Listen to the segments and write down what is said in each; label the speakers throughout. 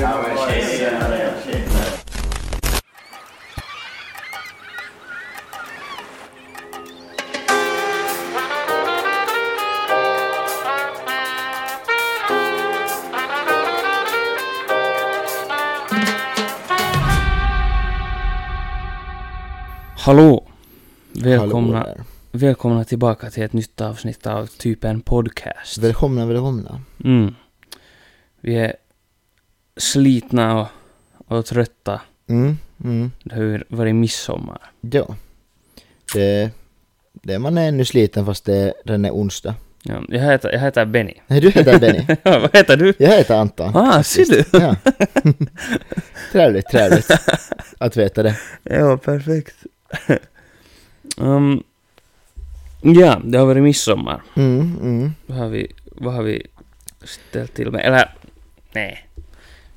Speaker 1: Ja, men tjenare, tjenare.
Speaker 2: Hallå! Välkomna,
Speaker 3: Hallå där.
Speaker 2: välkomna tillbaka till ett nytt avsnitt av typ en podcast.
Speaker 3: Välkomna, välkomna.
Speaker 2: Mm. Vi är slitna och, och trötta.
Speaker 3: Mm, mm,
Speaker 2: Det har ju varit midsommar.
Speaker 3: ja. Det, det man är ännu sliten fast det redan är onsdag.
Speaker 2: Ja, jag, heter, jag heter Benny.
Speaker 3: Nej, du heter Benny.
Speaker 2: Vad heter du?
Speaker 3: Jag heter Anton.
Speaker 2: Ah, ser du?
Speaker 3: Ja. trevligt, trevligt att veta det.
Speaker 2: Ja, perfekt. um, ja, det har varit midsommar.
Speaker 3: Mm, mm.
Speaker 2: Vad har vi, vad har vi ställt till med? Eller, nej.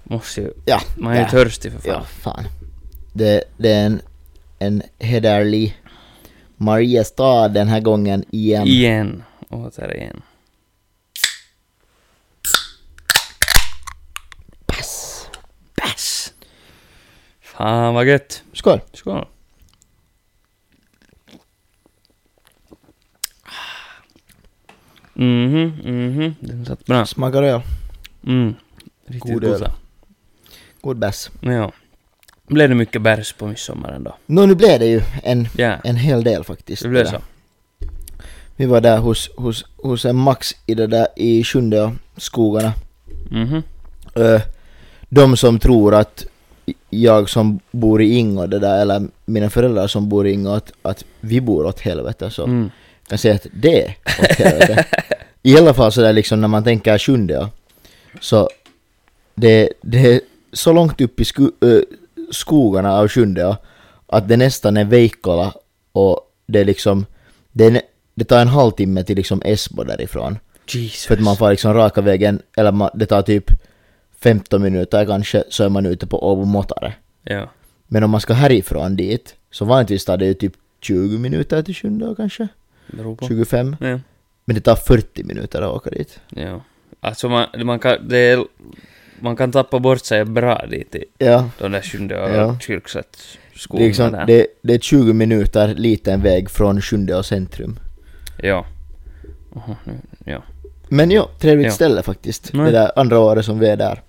Speaker 2: Måste ju,
Speaker 3: Ja,
Speaker 2: man är ju
Speaker 3: nej.
Speaker 2: törstig för fan.
Speaker 3: Ja, fan. Det, det är en, en hederlig Mariestad den här gången igen.
Speaker 2: Igen. Återigen.
Speaker 3: Pass.
Speaker 2: Bäs! Fan vad gött.
Speaker 3: Skål.
Speaker 2: Skål. Mhm, mhm. Den satt bra.
Speaker 3: Smakar öl.
Speaker 2: Mm. Riktigt
Speaker 3: God
Speaker 2: God
Speaker 3: öl.
Speaker 2: goda.
Speaker 3: God bärs.
Speaker 2: Men ja. Blev det mycket bärs på midsommaren då?
Speaker 3: Nå, nu blev det ju en,
Speaker 2: Ja.
Speaker 3: en hel del faktiskt.
Speaker 2: Det blev så.
Speaker 3: Vi var där hos, hos, hos en Max i det där i Sjunde och skogarna.
Speaker 2: Mhm.
Speaker 3: Ö, Eh, De som tror att jag som bor i Ingo, det där, eller mina föräldrar som bor i Ingo, att, att vi bor åt helvete. Så
Speaker 2: Mm.
Speaker 3: kan jag säga att det är åt helvete. I alla fall sådär liksom när man tänker Sjunde och så det, det är så långt upp i sku, ö, skogarna av Sjunde och att det nästan är Veikkola och det är liksom det, är, nä- det tar en halvtimme till liksom Esbo därifrån.
Speaker 2: Jesus.
Speaker 3: För att man får liksom raka vägen, eller man, det tar typ 15 minuter kanske, så är man ute på Åbo Motare.
Speaker 2: Ja.
Speaker 3: Men om man ska härifrån dit, så vanligtvis tar det ju typ 20 minuter till Sjunde kanske?
Speaker 2: Beror på.
Speaker 3: 25?
Speaker 2: Ja.
Speaker 3: Men det tar 40 minuter att åka dit.
Speaker 2: Ja. Alltså man, man kan, det är, man kan tappa bort sig bra dit i
Speaker 3: Ja.
Speaker 2: de där sjunde och
Speaker 3: Ja.
Speaker 2: ja. kyrkslätts
Speaker 3: Det är, liksom,
Speaker 2: där.
Speaker 3: det, det är 20 minuter liten väg från Sjunde centrum.
Speaker 2: Ja. Aha, nu, ja.
Speaker 3: Men ja, trevligt
Speaker 2: Ja.
Speaker 3: ställe faktiskt.
Speaker 2: Nej.
Speaker 3: Det där andra året som vi är där.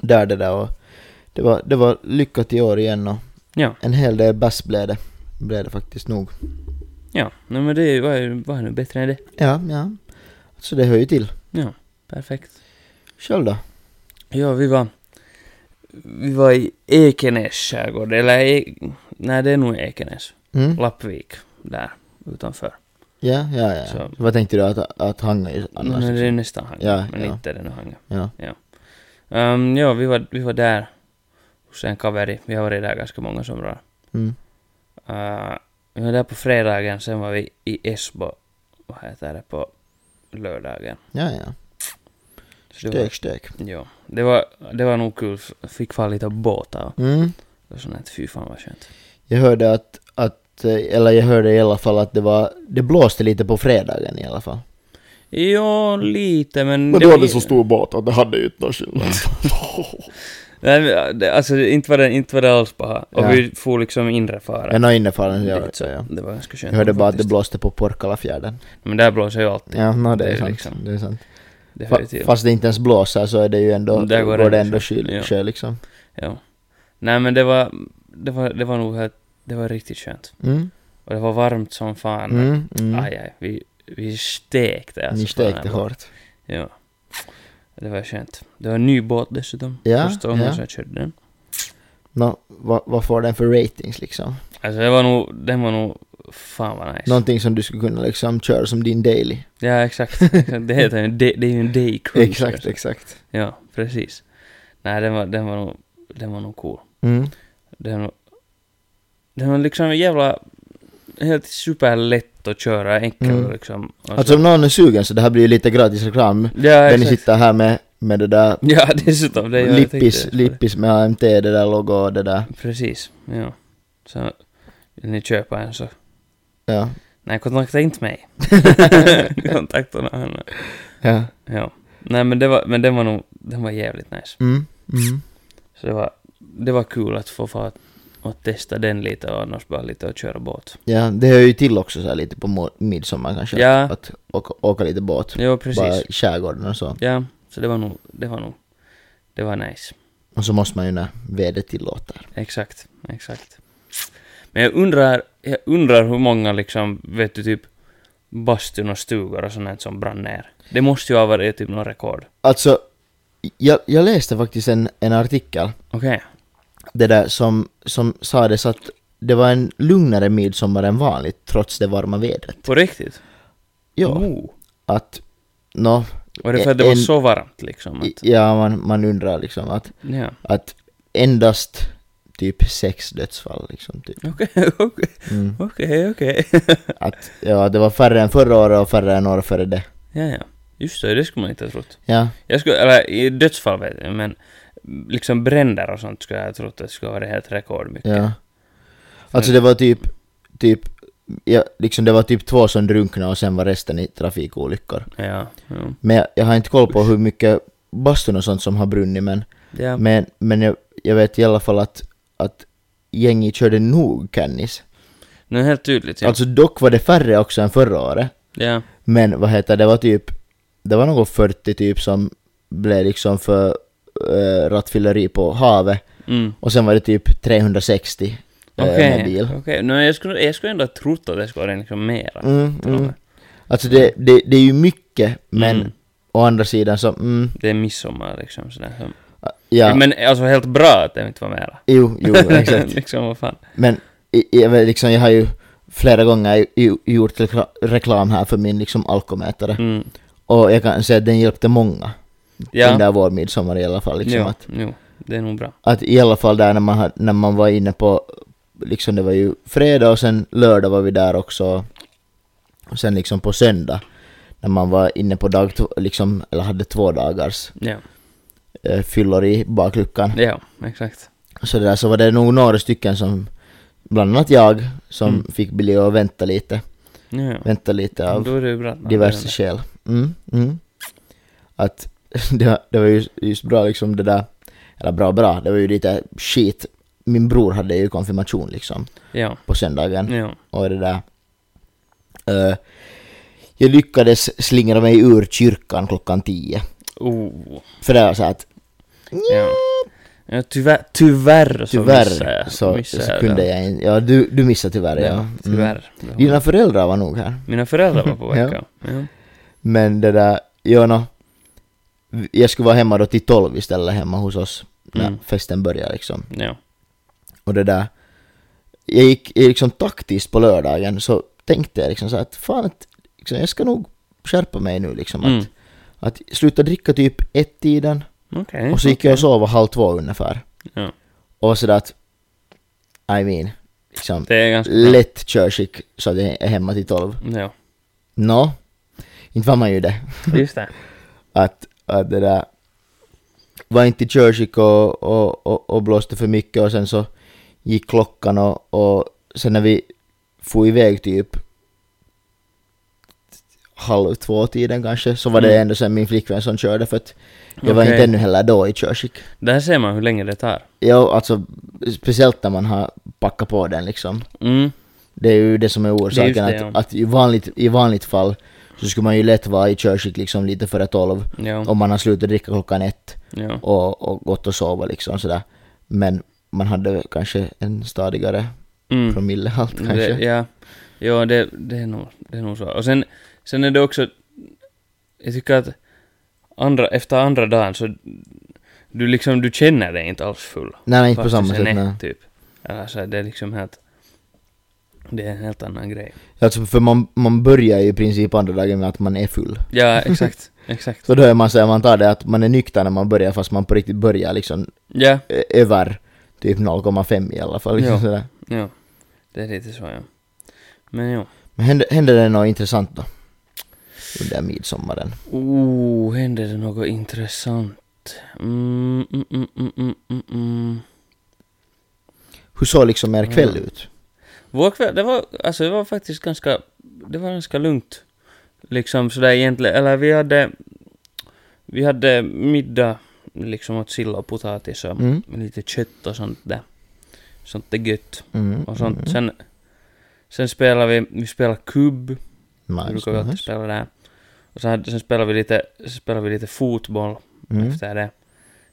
Speaker 3: Där det där och det var, det var lyckat i år igen och
Speaker 2: Ja.
Speaker 3: en hel del bass blev det. Blev det faktiskt nog.
Speaker 2: Ja. Nej men det är ju- vad är, vad är nu bättre än det?
Speaker 3: Ja, ja. Så det hör ju till.
Speaker 2: Ja. Perfekt.
Speaker 3: Själv då?
Speaker 2: Ja, vi var... Vi var i Ekenäs skärgård, eller e, Nej, det är nog Ekenäs.
Speaker 3: Mm?
Speaker 2: Lappvik, där utanför.
Speaker 3: Ja, ja, ja.
Speaker 2: Så-
Speaker 3: Vad tänkte du att, att hanga i annars?
Speaker 2: Nej, det är
Speaker 3: liksom?
Speaker 2: nästan Hangö,
Speaker 3: Ja,
Speaker 2: men
Speaker 3: ja.
Speaker 2: inte den här Hangö.
Speaker 3: Ja.
Speaker 2: Ehm, ja, vi var, vi var där hos en kaveri. Vi har varit där ganska många somrar.
Speaker 3: Mm.
Speaker 2: Eh, vi var där på fredagen, sen var vi i Esbo, vad heter det, på lördagen.
Speaker 3: ja, ja.
Speaker 2: Så det var,
Speaker 3: Stök, stök.
Speaker 2: ja, det var, det var nog kul. Fick vara lite av båtar
Speaker 3: Mm.
Speaker 2: och sånt. Fy fan vad skönt.
Speaker 3: Jag hörde att, att, eh, eller jag hörde i alla fall att det var, det blåste lite på fredagen i alla fall.
Speaker 2: Ja, lite, men...
Speaker 4: Men du hade
Speaker 2: var-
Speaker 4: så stor båt att det hade ju inte någon
Speaker 3: Mm.
Speaker 4: skillnad.
Speaker 2: Nej, men, det- alltså inte var det, inte var det alls bara. Och
Speaker 3: Ja.
Speaker 2: vi for liksom inre fara.
Speaker 3: Jag har innefallen, jag,
Speaker 2: Dit, så
Speaker 3: jag,
Speaker 2: Det var ganska skönt.
Speaker 3: jag hörde bara att det
Speaker 2: faktiskt.
Speaker 3: blåste på Porkalafjärden.
Speaker 2: Men där blåser ju alltid.
Speaker 3: Ja, no, det,
Speaker 2: Det är
Speaker 3: är sant.
Speaker 2: liksom-
Speaker 3: Det är sant.
Speaker 2: Det hör ju
Speaker 3: Fa-
Speaker 2: till.
Speaker 3: fast det inte ens blåser så är det ju ändå,
Speaker 2: Där går
Speaker 3: går,
Speaker 2: det
Speaker 3: det
Speaker 2: ändå
Speaker 3: ändå
Speaker 2: sjö.
Speaker 3: kyl,
Speaker 2: Ja.
Speaker 3: sjö liksom.
Speaker 2: Ja. Nej, men det var... Det var, det var nog helt... Det var riktigt skönt.
Speaker 3: Mm,
Speaker 2: Och det var varmt som fan.
Speaker 3: mm, mm.
Speaker 2: Aj, aj. Vi, vi stekte alltså.
Speaker 3: Ni
Speaker 2: fan,
Speaker 3: stekte
Speaker 2: jag-
Speaker 3: hårt.
Speaker 2: Ja. Det var skönt. Det var en ny båt dessutom.
Speaker 3: Ja,
Speaker 2: Första gången
Speaker 3: ja.
Speaker 2: som jag körde den.
Speaker 3: Nå, vad, vad får den för ratings liksom?
Speaker 2: Alltså det var nog... Den var nog... Fan vad nice.
Speaker 3: Någonting som du skulle kunna liksom köra som din daily.
Speaker 2: Ja, exakt. exakt. Det heter ju... Det, det är ju en day cruiser.
Speaker 3: Exakt, exakt.
Speaker 2: Ja, precis. Nej, den var, den var, nog, den var nog cool.
Speaker 3: Mm.
Speaker 2: Den, var- den var liksom jävla... Helt superlätt att köra, enkel
Speaker 3: Mm.
Speaker 2: liksom. Och så-
Speaker 3: Alltså om någon är sugen så det här blir ju lite gratis reklam.
Speaker 2: ja,
Speaker 3: Benny
Speaker 2: exakt.
Speaker 3: sitter här med, med det där
Speaker 2: Ja, dessutom. Det gör jag
Speaker 3: lippis,
Speaker 2: tänkte-
Speaker 3: lippis med AMT, det där logo och det där.
Speaker 2: Precis, ja. Så vill ni köpa en så...
Speaker 3: Ja.
Speaker 2: Nej, kontakta inte mig. Kontakta någon annan.
Speaker 3: Ja.
Speaker 2: Ja. Nej men det var, men den var nog, den var jävligt nice.
Speaker 3: Mm. Mm.
Speaker 2: Så det var, det var kul att få fart och testa den lite och annars bara lite att köra båt.
Speaker 3: Ja, det hör ju till också så här lite på må- midsommar kanske.
Speaker 2: Ja.
Speaker 3: Att åka, åka lite båt.
Speaker 2: Jo, precis.
Speaker 3: Bara i skärgården och så.
Speaker 2: Ja, så det var nog, det var nog, det var nice.
Speaker 3: Och så måste man ju när vädret tillåter.
Speaker 2: Exakt, exakt. Men jag undrar, jag undrar hur många liksom, vet du typ, bastun och stugor och sånt här som brann ner. Det måste ju ha varit typ något rekord.
Speaker 3: Alltså, jag, jag läste faktiskt en, en artikel.
Speaker 2: Okej.
Speaker 3: Det där som, som sades att det var en lugnare midsommar än vanligt trots det varma vädret.
Speaker 2: På riktigt?
Speaker 3: Ja,
Speaker 2: Oh.
Speaker 3: att... Nå,
Speaker 2: Var det för att det var
Speaker 3: en-
Speaker 2: så varmt liksom? Att,
Speaker 3: ja, man, man undrar liksom att,
Speaker 2: ja.
Speaker 3: att endast typ sex dödsfall liksom. Typ.
Speaker 2: Okej, okej,
Speaker 3: Mm.
Speaker 2: okej, okej.
Speaker 3: Att, ja, det var färre än förra året och färre än året före det.
Speaker 2: Ja, ja. Just det, det skulle man inte ha trott.
Speaker 3: Ja,
Speaker 2: Jag skulle, eller i dödsfall vet jag, men liksom bränder och sånt skulle jag ha trott att det skulle ha varit helt rekord mycket.
Speaker 3: ja. Alltså det var typ, typ, ja, liksom det var typ två som drunknade och sen var resten i trafikolyckor.
Speaker 2: Ja, ja.
Speaker 3: Men jag, jag har inte koll på hur mycket bastun och sånt som har brunnit men,
Speaker 2: ja.
Speaker 3: men, men jag, jag vet i alla fall att, att gänget körde nog Cannis.
Speaker 2: Nu helt tydligt, ja.
Speaker 3: Alltså dock var det färre också än förra året.
Speaker 2: ja.
Speaker 3: Men vad heter det, var typ, det var någon 40 typ som blev liksom för äh, rattfylleri på havet.
Speaker 2: Mm.
Speaker 3: Och sen var det typ 360 eh, med
Speaker 2: Okej,
Speaker 3: bil.
Speaker 2: okej. Nej, jag, skulle, jag skulle ändå ha trott att det skulle vara liksom mera.
Speaker 3: Mm,
Speaker 2: Tror
Speaker 3: mm.
Speaker 2: jag.
Speaker 3: Alltså det, det, det är ju mycket, men
Speaker 2: Mm.
Speaker 3: å andra sidan så, mm,
Speaker 2: Det är midsommar liksom sådär. som-
Speaker 3: ja,
Speaker 2: Men alltså helt bra att det inte var mera.
Speaker 3: jo, jo, exakt.
Speaker 2: liksom vad fan.
Speaker 3: Men i- i- jag, vet liksom, jag har ju flera gånger ju- ju- gjort rekla- reklam här för min liksom alkomätare.
Speaker 2: Mm.
Speaker 3: Och jag kan säga att den hjälpte många
Speaker 2: Ja.
Speaker 3: under vår midsommar i alla fall. Liksom,
Speaker 2: jo,
Speaker 3: att,
Speaker 2: jo, det är nog bra.
Speaker 3: att i alla fall där när man, ha- när man var inne på, liksom det var ju fredag och sen lördag var vi där också. Och sen liksom på söndag, när man var inne på dag två, liksom, eller hade två dagars
Speaker 2: Ja,
Speaker 3: eh, fyllor i bakluckan.
Speaker 2: ja exakt.
Speaker 3: Så det där, så var det nog några stycken som, bland annat jag, som
Speaker 2: Mm.
Speaker 3: fick bli och vänta lite,
Speaker 2: Ja, ja.
Speaker 3: vänta lite
Speaker 2: Men
Speaker 3: av
Speaker 2: Då är det ju bra att man
Speaker 3: diverse
Speaker 2: använder.
Speaker 3: skäl. Mm, mm. Att det, var- det var ju just bra liksom det där, eller bra bra, det var ju lite skit. Min bror hade ju konfirmation liksom
Speaker 2: Ja,
Speaker 3: på söndagen
Speaker 2: ja.
Speaker 3: och det där. eh, jag lyckades slingra mig ur kyrkan klockan tio.
Speaker 2: Oh.
Speaker 3: För det var så att
Speaker 2: Ja. Ja, tyvärr, tyvärr så
Speaker 3: tyvärr
Speaker 2: missade jag.
Speaker 3: så,
Speaker 2: missade
Speaker 3: så
Speaker 2: jag
Speaker 3: kunde
Speaker 2: den.
Speaker 3: jag inte. Ja, du, du missade tyvärr ja.
Speaker 2: Ja,
Speaker 3: Mm.
Speaker 2: tyvärr. Det var-
Speaker 3: Dina föräldrar var nog här.
Speaker 2: Mina föräldrar var på
Speaker 3: Ja.
Speaker 2: veckan. ja.
Speaker 3: Men det där, ja, nå. jag skulle vara hemma då till tolv istället hemma hos oss när
Speaker 2: Mm.
Speaker 3: festen börjar liksom.
Speaker 2: ja.
Speaker 3: Och det där, jag gick eh, liksom taktiskt på lördagen så tänkte jag liksom så att fan att, liksom, jag ska nog skärpa mig nu liksom.
Speaker 2: Mm.
Speaker 3: Att, att sluta dricka typ ett tiden
Speaker 2: Mm, Okej.
Speaker 3: och så gick jag och sov halv två ungefär.
Speaker 2: Ja.
Speaker 3: Och sådär att, I mean, liksom
Speaker 2: Det är ganska bra.
Speaker 3: lätt körskick så att jag är hemma till tolv.
Speaker 2: Ja,
Speaker 3: Nå, inte var man ju det.
Speaker 2: just det.
Speaker 3: att, att det där var inte körskick och, och, och, och blåste för mycket och sen så gick klockan och, och sen när vi for iväg typ halv två tiden kanske så var det
Speaker 2: Mm.
Speaker 3: ändå sen min flickvän som körde för att jag var
Speaker 2: Okej.
Speaker 3: inte ännu heller då i körskick.
Speaker 2: Där ser man hur länge det tar.
Speaker 3: Ja, alltså speciellt när man har packat på den liksom.
Speaker 2: Mm.
Speaker 3: Det är ju det som är orsaken
Speaker 2: det,
Speaker 3: att,
Speaker 2: ja.
Speaker 3: att i, vanligt, i vanligt fall så skulle man ju lätt vara i körskick liksom lite före tolv
Speaker 2: Ja,
Speaker 3: om man har slutat dricka klockan ett
Speaker 2: ja.
Speaker 3: och, och gått och sova liksom sådär. Men man hade kanske en stadigare
Speaker 2: Mm.
Speaker 3: promillehalt kanske.
Speaker 2: Det, ja, ja det, det, är nog, det är nog så. Och sen, sen är det också, jag tycker att andra, efter andra dagen så, du liksom, du känner dig inte alls full.
Speaker 3: nej, nej, inte på
Speaker 2: Fast du
Speaker 3: samma
Speaker 2: sen
Speaker 3: sätt.
Speaker 2: är,
Speaker 3: Nej.
Speaker 2: Typ. Eller så här, det är liksom helt, det är en helt annan grej.
Speaker 3: Alltså, för man, man börjar ju i princip andra dagen med att man är full.
Speaker 2: Ja, exakt, exakt.
Speaker 3: Så då är man så här, man tar det att man är nykter när man börjar fast man på riktigt börjar liksom
Speaker 2: Ja,
Speaker 3: ö- över typ 0,5 i alla fall. Liksom
Speaker 2: Ja.
Speaker 3: sådär.
Speaker 2: ja. Det är lite så, ja. Men jo.
Speaker 3: Men hände, hände det något intressant då? Under midsommaren.
Speaker 2: Oh, hände det något intressant? Mm, mm, mm, mm, mm, mm, mm.
Speaker 3: Hur såg liksom er kväll
Speaker 2: Ja.
Speaker 3: ut?
Speaker 2: Vår kväll, det var, alltså det var faktiskt ganska, det var ganska lugnt. Liksom sådär egentligen, eller vi hade, Vi hade middag, liksom åt sill och potatis och
Speaker 3: Mm.
Speaker 2: lite kött och sånt där. Sånt är gött.
Speaker 3: Mm.
Speaker 2: Och sånt. Sen, sen spelade vi, vi spelade kubb. Vi
Speaker 3: Mm. Nice.
Speaker 2: brukar vi alltid
Speaker 3: nice.
Speaker 2: spela där. Och sen, sen spelade vi lite, spelade vi lite fotboll
Speaker 3: Mm.
Speaker 2: efter det.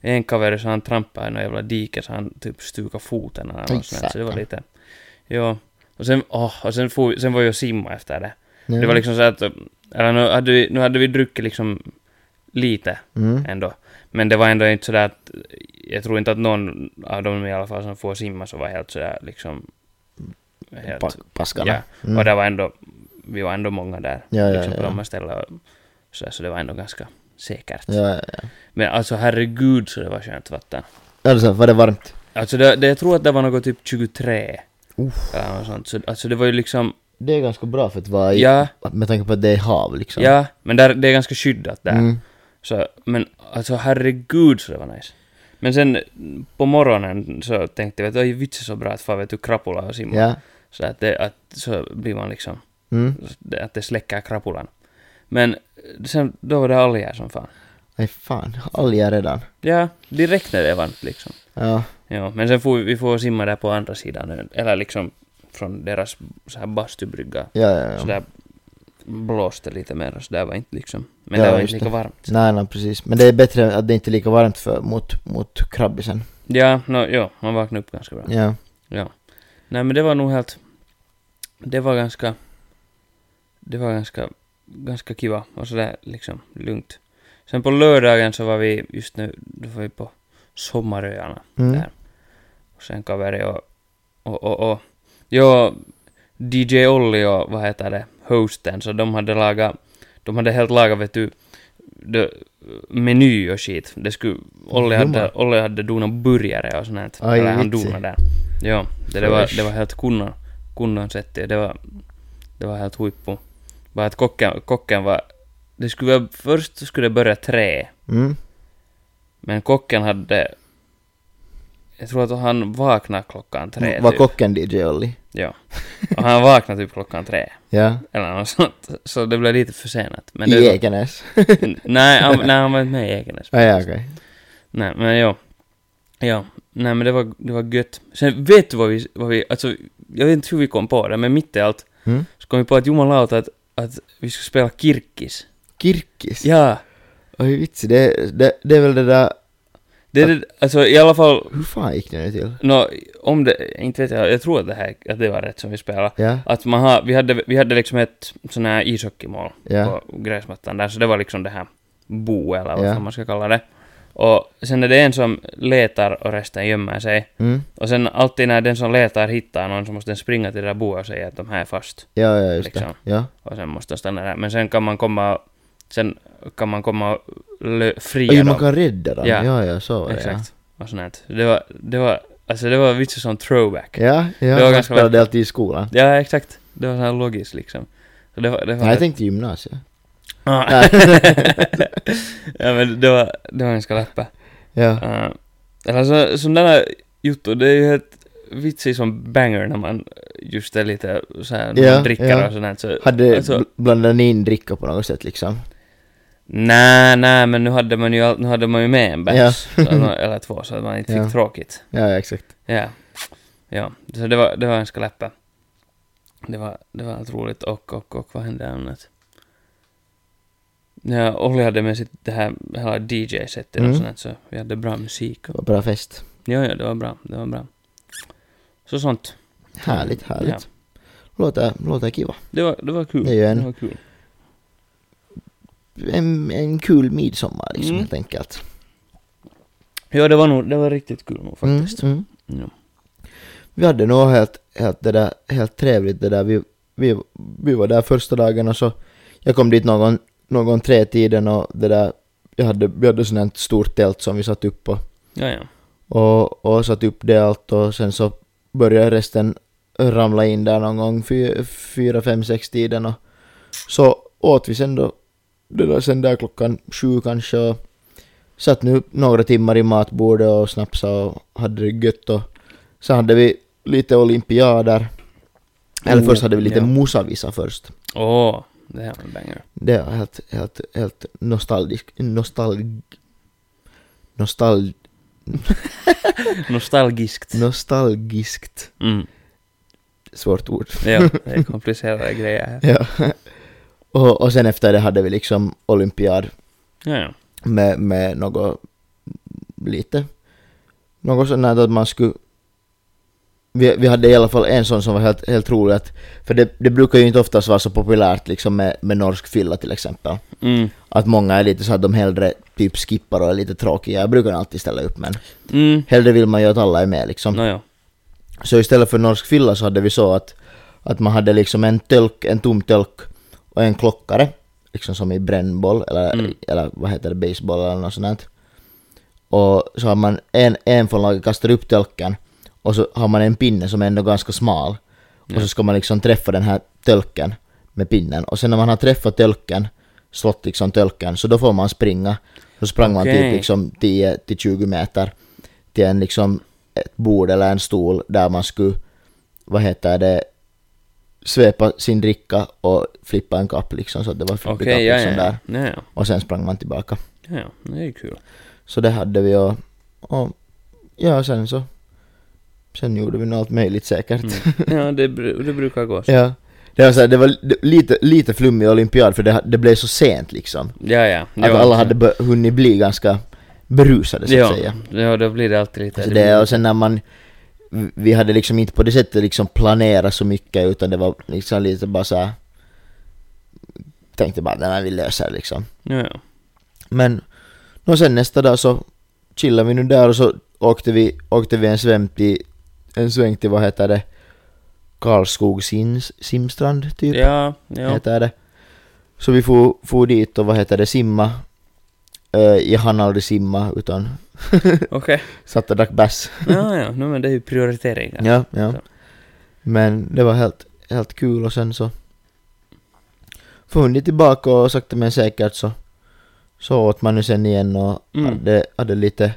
Speaker 2: En kaveri så han trampade i något jävla dike så han typ stukade foten eller något sånt. där. Så det var
Speaker 3: Exakt.
Speaker 2: lite... Ja. Och sen, åh, och sen, for, sen var jag och simma efter det.
Speaker 3: Ja.
Speaker 2: Det var liksom så att... Eller nu hade vi, nu hade vi druckit liksom lite
Speaker 3: Mm.
Speaker 2: ändå. Men det var ändå inte sådär att... Jag tror inte att någon av dem i alla fall som får simma så var helt sådär liksom... Helt,
Speaker 3: Pa- Paskarna.
Speaker 2: Ja,
Speaker 3: Mm.
Speaker 2: och det var ändå, vi var ändå många där.
Speaker 3: Ja, ja,
Speaker 2: liksom på
Speaker 3: ja.
Speaker 2: de här ställena. och Så, där, så det var ändå ganska säkert.
Speaker 3: Ja, ja, ja.
Speaker 2: Men alltså herregud så det var skönt vatten.
Speaker 3: Alltså, var det varmt?
Speaker 2: Alltså det, det, jag tror att det var något typ 23. Eller något sånt. Så, alltså det var ju liksom,
Speaker 3: Det är ganska bra för att vara i,
Speaker 2: Ja.
Speaker 3: med tanke på att det är hav liksom.
Speaker 2: ja, men där, det är ganska skyddat där.
Speaker 3: Mm.
Speaker 2: Så, men alltså herregud så det var nice. Men sen på morgonen så tänkte jag att oj vits är så bra att fara vet du krapula och simma.
Speaker 3: Ja.
Speaker 2: Så att det, att, så blir man liksom,
Speaker 3: Mm.
Speaker 2: att det släcker krapulan. Men sen, då var det alger som fan.
Speaker 3: Nej fan, olja redan.
Speaker 2: Ja, direkt när det är varmt liksom.
Speaker 3: Ja.
Speaker 2: Ja, men sen får vi, vi får simma där på andra sidan ön, eller liksom från deras så här bastubrygga.
Speaker 3: Ja, ja, ja.
Speaker 2: Så där blåste lite mer och så där var inte liksom, men
Speaker 3: Ja,
Speaker 2: det var inte
Speaker 3: just
Speaker 2: lika
Speaker 3: det.
Speaker 2: varmt.
Speaker 3: Nej, nej, precis. Men det är bättre att det inte är lika varmt för, mot, mot krabbisen.
Speaker 2: Ja, no, ja, man vaknade upp ganska bra.
Speaker 3: Ja.
Speaker 2: Ja. Nej men det var nog helt, det var ganska, det var ganska, ganska kiva och sådär liksom lugnt. Sen på lördagen så var vi, just nu, då var vi på Sommaröarna.
Speaker 3: Mm.
Speaker 2: där. Och sen kaveri och, och, och, och ja, DJ Olli och vad heter det, hosten, så de hade lagat, de hade helt lagat vet du, de, meny och skit. Det skulle, Olli hade,
Speaker 3: Dumma.
Speaker 2: Olli hade donat burgare och sånt här.
Speaker 3: Aj,
Speaker 2: Eller han
Speaker 3: vitsi.
Speaker 2: donade där. Ja, det, det, var,
Speaker 3: Fresh.
Speaker 2: det var helt kunnon, kunnon sätt ja. det var, det var helt huippu. Bara att kocken, kocken var, det skulle vara, först skulle det börja tre
Speaker 3: Mm.
Speaker 2: men kocken hade... Jag tror att han vaknade klockan tre.
Speaker 3: Mm, Var
Speaker 2: typ.
Speaker 3: kocken DJ Olli?
Speaker 2: Ja. Och han vaknade typ klockan tre.
Speaker 3: Ja.
Speaker 2: Eller något sånt. Så det blev lite försenat. Men det
Speaker 3: I Ekenäs?
Speaker 2: nej, han, nej, han var inte med i Ekenäs.
Speaker 3: ah, ja, okej.
Speaker 2: Nej, men ja. Ja. Nej, men det var, det var gött. Sen vet du vad vi, vad vi... Alltså, jag vet inte hur vi kom på det, men mitt i allt
Speaker 3: Mm.
Speaker 2: så kom vi på att jumalauta att, att vi skulle spela kirkis.
Speaker 3: Kirkis?
Speaker 2: Ja.
Speaker 3: Oj, vitsi. Det, det, det är väl det där...
Speaker 2: Det, är det, alltså i alla fall...
Speaker 3: Hur fan gick det nu till?
Speaker 2: Nå, om det... Inte vet jag. Jag tror att det här... Att det var rätt som vi spelade.
Speaker 3: Ja.
Speaker 2: Att man har, vi, hade, vi hade liksom ett sån här ishockeymål
Speaker 3: Ja.
Speaker 2: på gräsmattan där, så det var liksom det här bo eller vad
Speaker 3: Ja.
Speaker 2: fan man ska kalla det. Och sen är det en som letar och resten gömmer sig.
Speaker 3: Mm.
Speaker 2: Och sen alltid när den som letar hittar någon så måste den springa till det där boet och säga att de här är fast.
Speaker 3: Ja, ja, just
Speaker 2: Liksom.
Speaker 3: det. Ja.
Speaker 2: Och sen måste de stanna där. Men sen kan man komma, sen kan man komma och lö- fria
Speaker 3: Oj,
Speaker 2: dem.
Speaker 3: man kan rädda dem.
Speaker 2: Ja.
Speaker 3: Ja, ja, så var det.
Speaker 2: Exakt. Och sånt. här. Så Det var, det var, alltså det var vitsigt som throwback.
Speaker 3: Ja, ja.
Speaker 2: Det var
Speaker 3: ja man
Speaker 2: ganska
Speaker 3: spelade alltid i skolan.
Speaker 2: Ja, exakt. Det var så här logiskt liksom. Så det var, det var
Speaker 3: Nej, jag tänkte gymnasiet.
Speaker 2: Ah.
Speaker 3: Nej.
Speaker 2: ja men det var, det var ganska läppä.
Speaker 3: Ja.
Speaker 2: Uh, alltså sådana juttor, det är ju helt vitsig som banger när man just är lite såhär, när
Speaker 3: Ja,
Speaker 2: man dricker
Speaker 3: ja.
Speaker 2: och sånt så,
Speaker 3: Hade
Speaker 2: alltså,
Speaker 3: bl- blandat ni in dricka på något sätt liksom?
Speaker 2: Nej, nej men nu hade man ju, all- nu hade man ju med en bärs,
Speaker 3: Ja.
Speaker 2: så att man- eller två, så att man inte fick
Speaker 3: Ja.
Speaker 2: tråkigt.
Speaker 3: Ja, ja, exakt.
Speaker 2: Ja. Ja, så det var, det var ganska läppä. Det var, det var allt roligt och, och, och vad hände annat? Ja, Olli hade med sitt det här hela DJ-setet och
Speaker 3: Mm.
Speaker 2: sånt här, så vi hade bra musik
Speaker 3: Det
Speaker 2: och...
Speaker 3: var bra fest.
Speaker 2: Ja, ja, det var bra, det var bra. Så sånt.
Speaker 3: Härligt, härligt.
Speaker 2: Ja,
Speaker 3: Låter, låter kiva.
Speaker 2: det var, det var kul.
Speaker 3: Det är ju en-
Speaker 2: det var kul.
Speaker 3: En, en kul midsommar liksom
Speaker 2: Mm.
Speaker 3: helt enkelt.
Speaker 2: Ja, det var nog, det var riktigt kul nog
Speaker 3: Mm,
Speaker 2: faktiskt.
Speaker 3: mm.
Speaker 2: Ja.
Speaker 3: Vi hade nog helt, helt, det där, helt trevligt det där. Vi, vi, vi var där första dagen och så jag kom dit någon, någon tre tiden och det där, jag hade, vi hade sånt här stort tält som vi satt upp på
Speaker 2: Ja, ja.
Speaker 3: och, och satt upp det allt och sen så började resten ramla in där någon gång fy- fyra, fem, sex tiden och så åt vi sen då det där sen där klockan sju kanske och satt nu några timmar i matbordet och snapsade och hade det gött och sen hade vi lite olympiader eller
Speaker 2: Oh,
Speaker 3: först hade vi lite
Speaker 2: ja.
Speaker 3: musavisa först
Speaker 2: Åh, Det här var en banger.
Speaker 3: Det var helt, helt, helt nostalgisk, nostalg... Nostalg...
Speaker 2: Nostalgiskt.
Speaker 3: Mm. Nostalgiskt.
Speaker 2: Mm.
Speaker 3: Svårt ord.
Speaker 2: Ja, det är komplicerade grejer här.
Speaker 3: Ja. Och, och sen efter det hade vi liksom olympiad
Speaker 2: Ja, ja.
Speaker 3: med, med något lite, något sånt där att man skulle vi, vi hade i alla fall en sån som var helt, helt rolig att, för det, det brukar ju inte oftast vara så populärt liksom med, med norsk fylla till exempel.
Speaker 2: Mm.
Speaker 3: Att många är lite så att de hellre typ skippar och är lite tråkiga. Jag brukar alltid ställa upp men
Speaker 2: Mm.
Speaker 3: hellre vill man ju att alla är med liksom.
Speaker 2: Nåja.
Speaker 3: Så istället för norsk fylla så hade vi så att, att man hade liksom en tölk, en tom tölk och en klockare. Liksom som i brännboll eller, eller vad heter det, baseball eller något sånt. där. Och så har man en, en från laget kastar upp tölken och så har man en pinne som är ändå ganska smal. Och så ska man liksom träffa den här tölken med pinnen. Och sen när man har träffat tölken, slått liksom tölken, så då får man springa. Så sprang man
Speaker 2: Okej.
Speaker 3: typ liksom 10-20 meter till en liksom ett bord eller en stol där man skulle, vad heter det, svepa sin dricka och flippa en kapp liksom så att det var flippi
Speaker 2: Okej,
Speaker 3: kapp
Speaker 2: ja,
Speaker 3: liksom där.
Speaker 2: ja. Ja, ja.
Speaker 3: Och sen sprang man tillbaka.
Speaker 2: Ja, ja. Det är ju kul.
Speaker 3: Så det hade vi och, och ja sen så, sen gjorde vi nog allt möjligt säkert.
Speaker 2: Mm. Ja, det, bru- det brukar gå så.
Speaker 3: Ja. Det var, så här, det var li- lite, lite flummig olympiad för det, det blev så sent liksom.
Speaker 2: Ja, ja.
Speaker 3: Att alla hade bör- hunnit bli ganska berusade så att
Speaker 2: ja.
Speaker 3: säga.
Speaker 2: Ja, då blir det alltid lite...
Speaker 3: Så det, och sen när man, vi hade liksom inte på det sättet liksom planerat så mycket utan det var liksom lite bara så här, tänkte bara den här vi löser det", liksom.
Speaker 2: Ja, ja.
Speaker 3: Men och sen nästa dag så chillade vi nu där och så åkte vi, åkte vi en sväng till, en sväng till vad heter det, Karlskog Sims, Simstrand typ
Speaker 2: Ja, ja.
Speaker 3: heter det. Så vi får, får dit och vad heter det, simma. Eh, jag hann aldrig simma utan
Speaker 2: Okej.
Speaker 3: satt och drack bärs.
Speaker 2: Ja, ja. No, men det är ju prioriteringar.
Speaker 3: Ja, ja.
Speaker 2: Så.
Speaker 3: Men det var helt, helt kul och sen så funnit tillbaka och sakta men säkert så, så åt man nu sen igen och
Speaker 2: Mm.
Speaker 3: hade, hade lite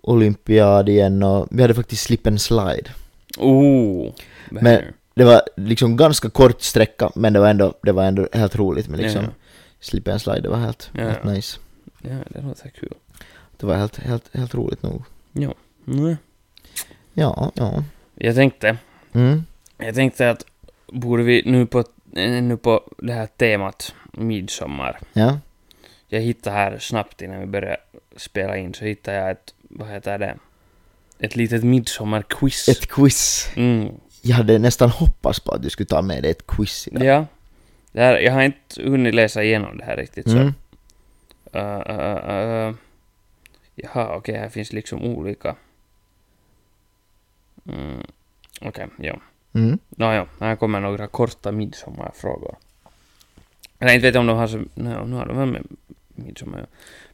Speaker 3: olympiad igen och vi hade faktiskt slip and slide.
Speaker 2: Oh!
Speaker 3: Men det var liksom ganska kort sträcka men det var ändå, det var ändå helt roligt med liksom
Speaker 2: Ja.
Speaker 3: slip and slide, det var helt,
Speaker 2: Ja,
Speaker 3: helt
Speaker 2: ja.
Speaker 3: nice.
Speaker 2: Ja, det låter kul.
Speaker 3: Det var helt, helt, helt roligt nog.
Speaker 2: Ja. Mm.
Speaker 3: Ja, ja.
Speaker 2: Jag tänkte,
Speaker 3: Mm.
Speaker 2: jag tänkte att borde vi nu på, eh, nu på det här temat midsommar.
Speaker 3: Ja.
Speaker 2: Jag hittade här snabbt innan vi började spela in så hittade jag ett, vad heter det? Ett litet midsommarquiz.
Speaker 3: Ett quiz.
Speaker 2: Mm.
Speaker 3: Jag hade nästan hoppats på att du skulle ta med dig ett quiz idag.
Speaker 2: Ja. Det här, jag har inte hunnit läsa igenom det här riktigt så.
Speaker 3: Mm.
Speaker 2: Uh, uh, uh. Jaha, okej, här finns liksom olika. Mm. Okej, ja.
Speaker 3: Mm.
Speaker 2: Nåja, här kommer några korta midsommarfrågor. Eller inte vet jag om de har så... Nej, nu har de väl med midsommar. ja.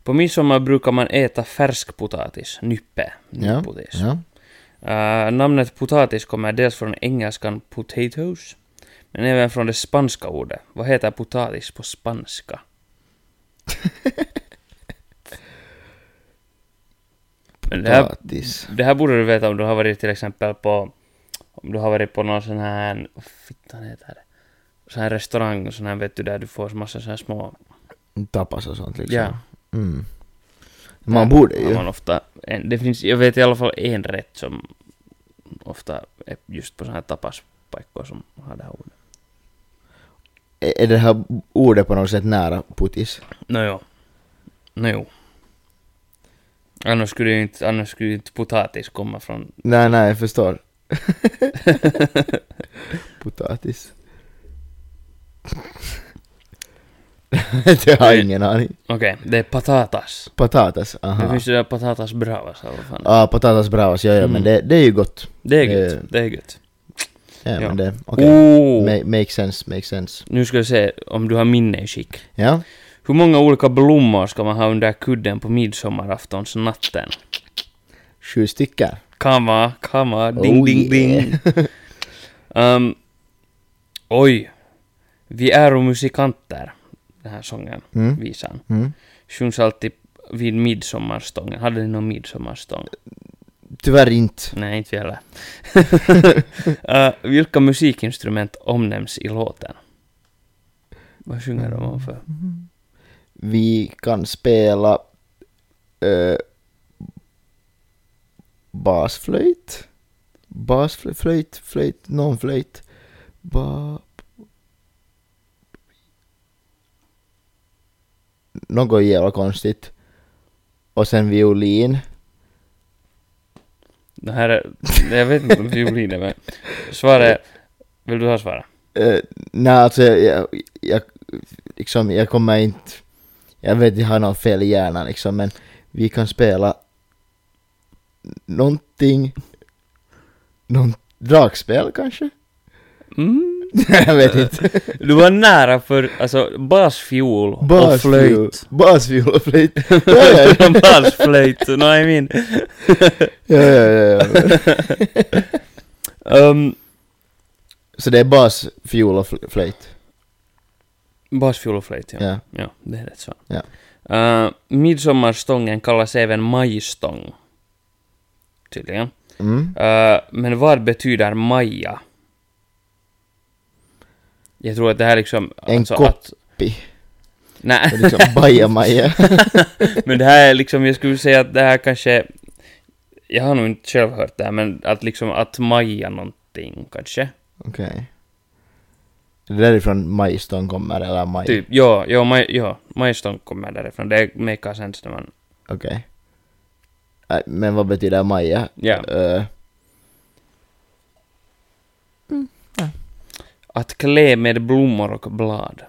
Speaker 2: På midsommar brukar man äta färskpotatis, nyppe,
Speaker 3: Ja.
Speaker 2: nypotatis.
Speaker 3: ja.
Speaker 2: Eh, namnet potatis kommer dels från engelskan potatoes, men även från det spanska ordet. Vad heter potatis på spanska? Men det här,
Speaker 3: Potatis.
Speaker 2: det här borde du veta om du har varit till exempel på... Om du har varit på någon sån här... Vad fittan heter det? Sån här restaurang, sån här vet du, där du får massa sån här små...
Speaker 3: Tapas och sånt liksom.
Speaker 2: Ja.
Speaker 3: Mm. Man
Speaker 2: där
Speaker 3: borde
Speaker 2: har
Speaker 3: ju.
Speaker 2: Man ofta en, det finns, jag vet i alla fall en rätt som ofta är just på sån här tapaspaikkoja som har det här ordet.
Speaker 3: Är är det här ordet på något sätt nära putis?
Speaker 2: Nåjo. Nåjo. Annars skulle ju inte, annars skulle ju inte potatis komma från...
Speaker 3: Nej, nej, jag förstår. Potatis. det har jag ingen aning.
Speaker 2: Okej, det är patatas.
Speaker 3: Patatas,
Speaker 2: Det
Speaker 3: aha.
Speaker 2: finns ju där patatas bravas eller vad fan.
Speaker 3: Ja, ah, patatas bravas, ja, ja,
Speaker 2: Mm.
Speaker 3: men det, det är ju gott.
Speaker 2: Det är
Speaker 3: det-
Speaker 2: gött, det är gött.
Speaker 3: Ja,
Speaker 2: Ja.
Speaker 3: men det, okej.
Speaker 2: Åh!
Speaker 3: Ma- make sense, make sense.
Speaker 2: Oh. Nu ska jag se om du har minne i skick.
Speaker 3: Ja,
Speaker 2: Hur många olika blommor ska man ha under kudden på midsommaraftonsnatten?
Speaker 3: sju stycken.
Speaker 2: Kamma, kamma, ding,
Speaker 3: Oh,
Speaker 2: ding, ding. Ehm, oj. Vi är och musikanter. Den här sången,
Speaker 3: Mm.
Speaker 2: visan.
Speaker 3: Mm.
Speaker 2: Sjungs alltid vid midsommarstången. Hade ni någon midsommarstång?
Speaker 3: Tyvärr inte.
Speaker 2: Nej, inte vi heller. Uh, Eh, vilka musikinstrument omnämns i låten? Vad sjunger de om för?
Speaker 3: Vi kan spela eh, basflöjt? Basflöjt, flöjt, flöjt, någon flöjt. Ba... Något jävla konstigt. Och sen violin.
Speaker 2: Det här är... Jag vet inte om violin är med. Svaret... Vill du ha svaret?
Speaker 3: Eh, nej, alltså jag, jag, jag, liksom, jag kommer inte... Jag vet jag har något fel i hjärnan liksom, men vi kan spela någonting... Någon dragspel kanske?
Speaker 2: Mm.
Speaker 3: jag vet inte.
Speaker 2: Du var nära för... Alltså basfiol och
Speaker 3: Basfiol.
Speaker 2: flöjt.
Speaker 3: Basfiol och flöjt. Ja, ja, ja.
Speaker 2: Basflöjt, no I mean.
Speaker 3: ja, ja, ja.
Speaker 2: Um,
Speaker 3: Så det är basfiol och fl- flöjt.
Speaker 2: basfiol och flöjt, ja.
Speaker 3: Ja.
Speaker 2: Ja, det är rätt svar.
Speaker 3: Ja.
Speaker 2: Eh, midsommarstången kallas även majstång. Tydligen.
Speaker 3: Mm.
Speaker 2: Eh, men vad betyder maja? Jag tror att det här liksom...
Speaker 3: En
Speaker 2: att,
Speaker 3: koppi.
Speaker 2: Nej,
Speaker 3: Det är liksom bajamaja.
Speaker 2: men det här är liksom... Jag skulle säga att det här kanske... Jag har nog inte själv hört det här, men att liksom att maja någonting kanske.
Speaker 3: Okej. Det är därifrån majstång kommer, eller maj.
Speaker 2: Typ, ja, ja, maj, ja, majstång kommer därifrån. Det makar sense när man...
Speaker 3: Okej. Nej, Men vad betyder maja?
Speaker 2: Ja.
Speaker 3: Eh,
Speaker 2: Att klä med blommor och blad.